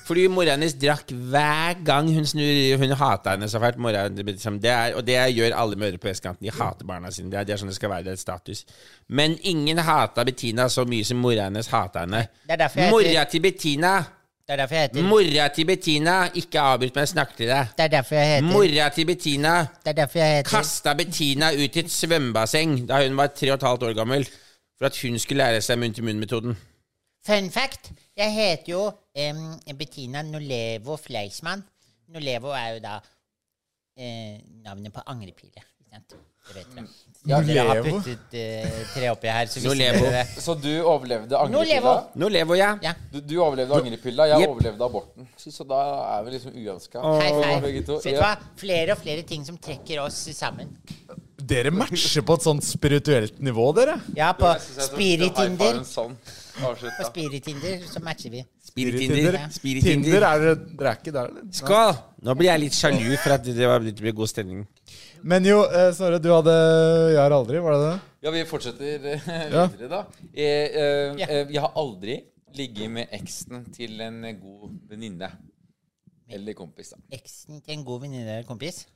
S5: Fordi mora hennes drakk hver gang hun snur Hun hata henne så fælt. Mora, det, blir liksom- det er, og det gjør alle mødre på vestkanten. De hater barna sine. Det er, det er sånn det skal være. Det er et status. Men ingen hata Bettina så mye som mora hennes hata henne.
S4: Det er derfor jeg
S5: Mora
S4: heter-
S5: til Bettina!
S4: Det er derfor jeg heter
S5: Mora til Bettina! Ikke avbryt meg, jeg snakker til deg.
S4: Det er derfor jeg heter
S5: Mora til Bettina
S4: Det er derfor jeg heter
S5: kasta Bettina ut i et svømmebasseng da hun var tre og et halvt år gammel, for at hun skulle lære seg munn-til-munn-metoden.
S4: Fun fact. Jeg heter jo em, Bettina Nolevo Fleismann. Nolevo er jo da eh, navnet på angrepile. Ikke sant? Det vet dere. Ja, dere har
S6: Nolevo?
S4: puttet eh, tre oppi her, så visste
S5: Nolevo.
S4: dere det.
S3: Så du overlevde angrepilla?
S4: Nolevo.
S5: Nå lever jeg.
S4: Ja.
S3: Du, du overlevde angrepilla, jeg
S5: Jep.
S3: overlevde aborten. Så, så da er vi liksom uønska.
S4: Hei, hei.
S3: Begge to.
S4: Vet du hva? Flere og flere ting som trekker oss sammen.
S6: Dere matcher på et sånt spirituelt nivå, dere.
S4: Ja, på Spirit-Tinder.
S3: Sånn.
S4: På
S3: Avslutta.
S4: Spirit-Tinder så matcher vi.
S5: Spirit-Tinder.
S6: Tinder
S5: Spirit-Tinder.
S6: er dere dere er ikke der, eller? Nei.
S5: Skål! Nå blir jeg litt sjalu for at det var litt god stemning.
S6: Men jo, eh, Snorre, du hadde Jeg har aldri, var det det?
S3: Ja, vi fortsetter eh,
S6: Ja.
S3: (laughs) videre, da. Jeg, eh,
S4: Ja.
S3: eh, jeg har aldri ligget med eksen til en god venninne. Eller kompis, da.
S4: Eksen til en god venninne eller kompis.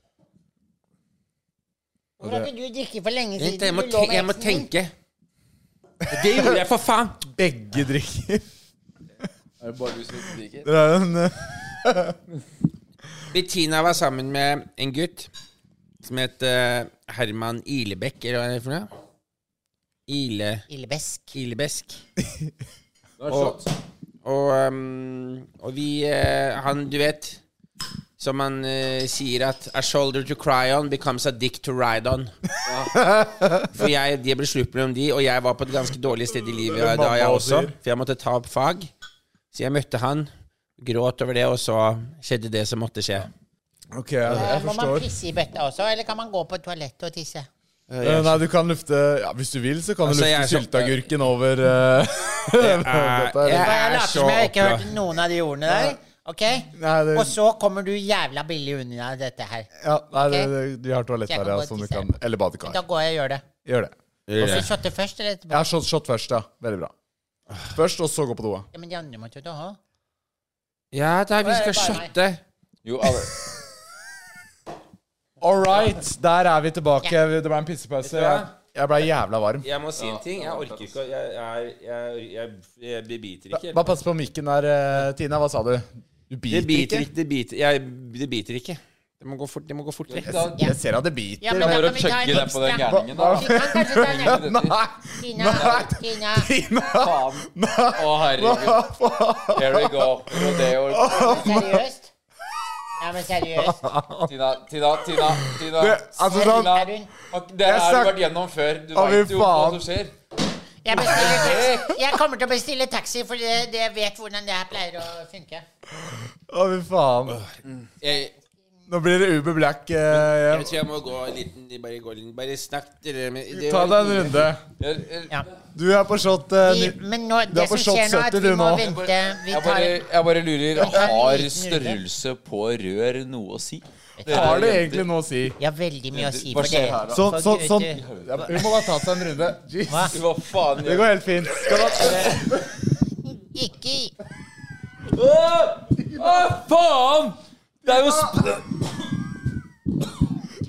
S4: Hvorfor har ikke du drukket for lenge siden?
S5: Vent, jeg må,
S4: Du lå
S5: te
S4: med
S5: jeg må
S4: eksen din.
S5: tenke. Det gjorde jeg, for faen!
S6: Begge drikker.
S3: Er det bare du som ikke drikker?
S6: Dere er en eh,
S5: Bettina var sammen med en gutt som het eh, Herman Ilebekk, eller hva er det for noe? Ile...
S4: Illebesk.
S5: Ilebesk.
S3: Nå er det slutt.
S5: Og, um, og vi eh, Han, du vet Som han eh, sier at A shoulder to cry on becomes a dick to ride on. For jeg, de ble slutt mellom de, og jeg var på et ganske dårlig sted i livet
S6: Det er
S5: da, jeg
S6: mamma
S5: også.
S6: sier.
S5: For jeg måtte ta opp fag. Så jeg møtte han, gråt over det, og så skjedde det som måtte skje.
S6: OK, jeg, jeg
S4: Må man
S6: forstår.
S4: pisse i bøtta også, eller kan man gå på toalettet og tisse?
S6: Eh, Nei, du kan lufte ja, Hvis du vil, så kan du
S5: Altså, jeg
S6: lufte
S5: er så-
S6: sylteagurken
S5: (laughs)
S6: over eh, dette
S5: jeg
S6: er-
S4: Jeg
S5: er
S4: later
S5: så
S4: som jeg ikke
S5: oppglad.
S4: hørte noen av de ordene der. Ok?
S6: Nei, det-
S4: Og så kommer du jævla billig unna dette her.
S6: Ja, nei, det,
S4: Ok.
S6: det, vi har toalett
S4: Jeg
S6: der,
S4: kan
S6: ja,
S4: gå og
S6: som du
S4: tisse.
S6: kan Eller badekar.
S4: Da går jeg og gjør det.
S6: Gjør det.
S4: Og så shotte først, eller etterpå?
S6: Jeg har shot, shot først, ja. Veldig bra.
S5: Ah.
S6: Først, og så gå på do.
S4: Ja, men de andre måtte jo da ha.
S5: Ja da, vi
S4: Bare-
S5: skal shotte.
S3: Jo, alle.
S6: All right, der er vi tilbake.
S4: Ja.
S6: Det ble en pissepause.
S5: Vet du hva?
S6: Jeg, jeg ble jævla varm.
S5: Jeg må si en ting. Jeg orker ikke å Jeg, jeg, jeg, jeg, jeg biter ikke.
S6: Bare pass på mikken der, eh, Tina. Hva sa du?
S5: Det
S6: Du biter,
S5: biter
S6: ikke?
S5: ikke. Det biter, jeg, det biter ikke. Det må gå fort. Det må gå fort vekk.
S3: Da
S4: Ja.
S6: Jeg ser at det biter.
S4: Ja, men
S3: Det er
S4: da
S3: bare å
S4: kan vi ta
S3: chugge
S4: en
S3: deg på den
S4: ekstra.
S3: gærningen, da.
S4: Vi kan kanskje ta en ekstra.
S6: (laughs) Nei!
S4: Tina, Tina.
S6: Tina!
S3: Faen. Å, herregud. Here we go. Rodeo.
S4: Seriøst? Ja, men seriøst.
S3: Tina, Tina, Tina. Tina.
S6: Det- altså,
S3: Tina.
S6: sånn-
S4: Er hun
S3: Ok, Det her har
S6: snak-
S3: du vært gjennom før. Du
S6: Å,
S3: vet
S6: fy
S3: jo hva
S6: faen.
S3: som skjer.
S4: Jeg, bestiller taxi. jeg kommer til å bestille taxi, for det, det vet hvordan det her pleier å funke.
S6: Å, fy faen.
S5: Jeg,
S6: Nå blir det Uber Black. eh,
S5: jeg tror jeg må gå en liten Bare, gå litt, bare snakk dere med
S6: hjem. Ta deg en runde.
S3: Jeg, jeg,
S4: Ja.
S6: Du er på shot. eh,
S4: Vi,
S6: ni-
S4: men nå,
S6: Du
S4: det
S6: er på
S4: som
S6: shot
S4: skjer nå, er
S6: 70
S4: at vi
S6: du
S4: må
S6: nå.
S4: vente. Vi
S3: jeg,
S4: tar
S3: bare, jeg bare lurer.
S4: tar en
S3: Har
S4: liten runde.
S3: størrelse på rør noe å si?
S6: Har det egentlig noe å si?
S4: Jeg har veldig mye å si
S3: Hva
S4: for
S3: skjer
S4: det.
S3: her, da?
S6: Så,
S4: For
S6: så,
S4: Gud,
S6: sånn.
S4: du-
S6: Ja, Hun må bare ta seg en runde. Jeez.
S4: Hva?
S3: Hva faen
S6: Det
S3: gjør
S6: går helt fint. Skal du
S4: Ikke
S3: Å, faen! Det er jo sp...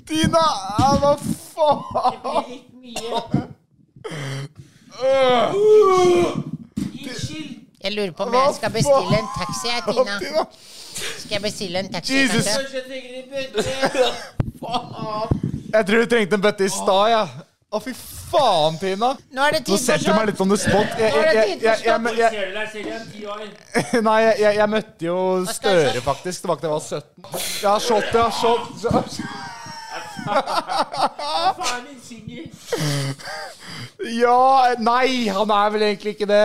S6: Tina! Ja, hva faen?
S4: Unnskyld. Jeg lurer på om
S6: Hva
S4: jeg skal bestille
S6: faen?
S4: en taxi, jeg, Tina.
S6: Tina.
S4: Skal jeg bestille en taxi,
S6: Jesus.
S4: kanskje?
S6: Jeg tror du trengte en bøtte i stad, jeg. Ja. Å, fy faen, Tina.
S4: Nå er det tid
S6: Nå
S4: for
S6: setter du
S4: show.
S6: meg litt on the spot. Jeg, jeg, jeg, jeg, jeg, jeg,
S5: Ser du deg selv igjen ti år?
S6: (laughs) Nei, jeg, jeg, jeg møtte jo
S4: skal jeg
S6: Støre faktisk tilbake da jeg var 17. Ja, shot, ja, shot. shot. Ja, nei, han er vel egentlig ikke det.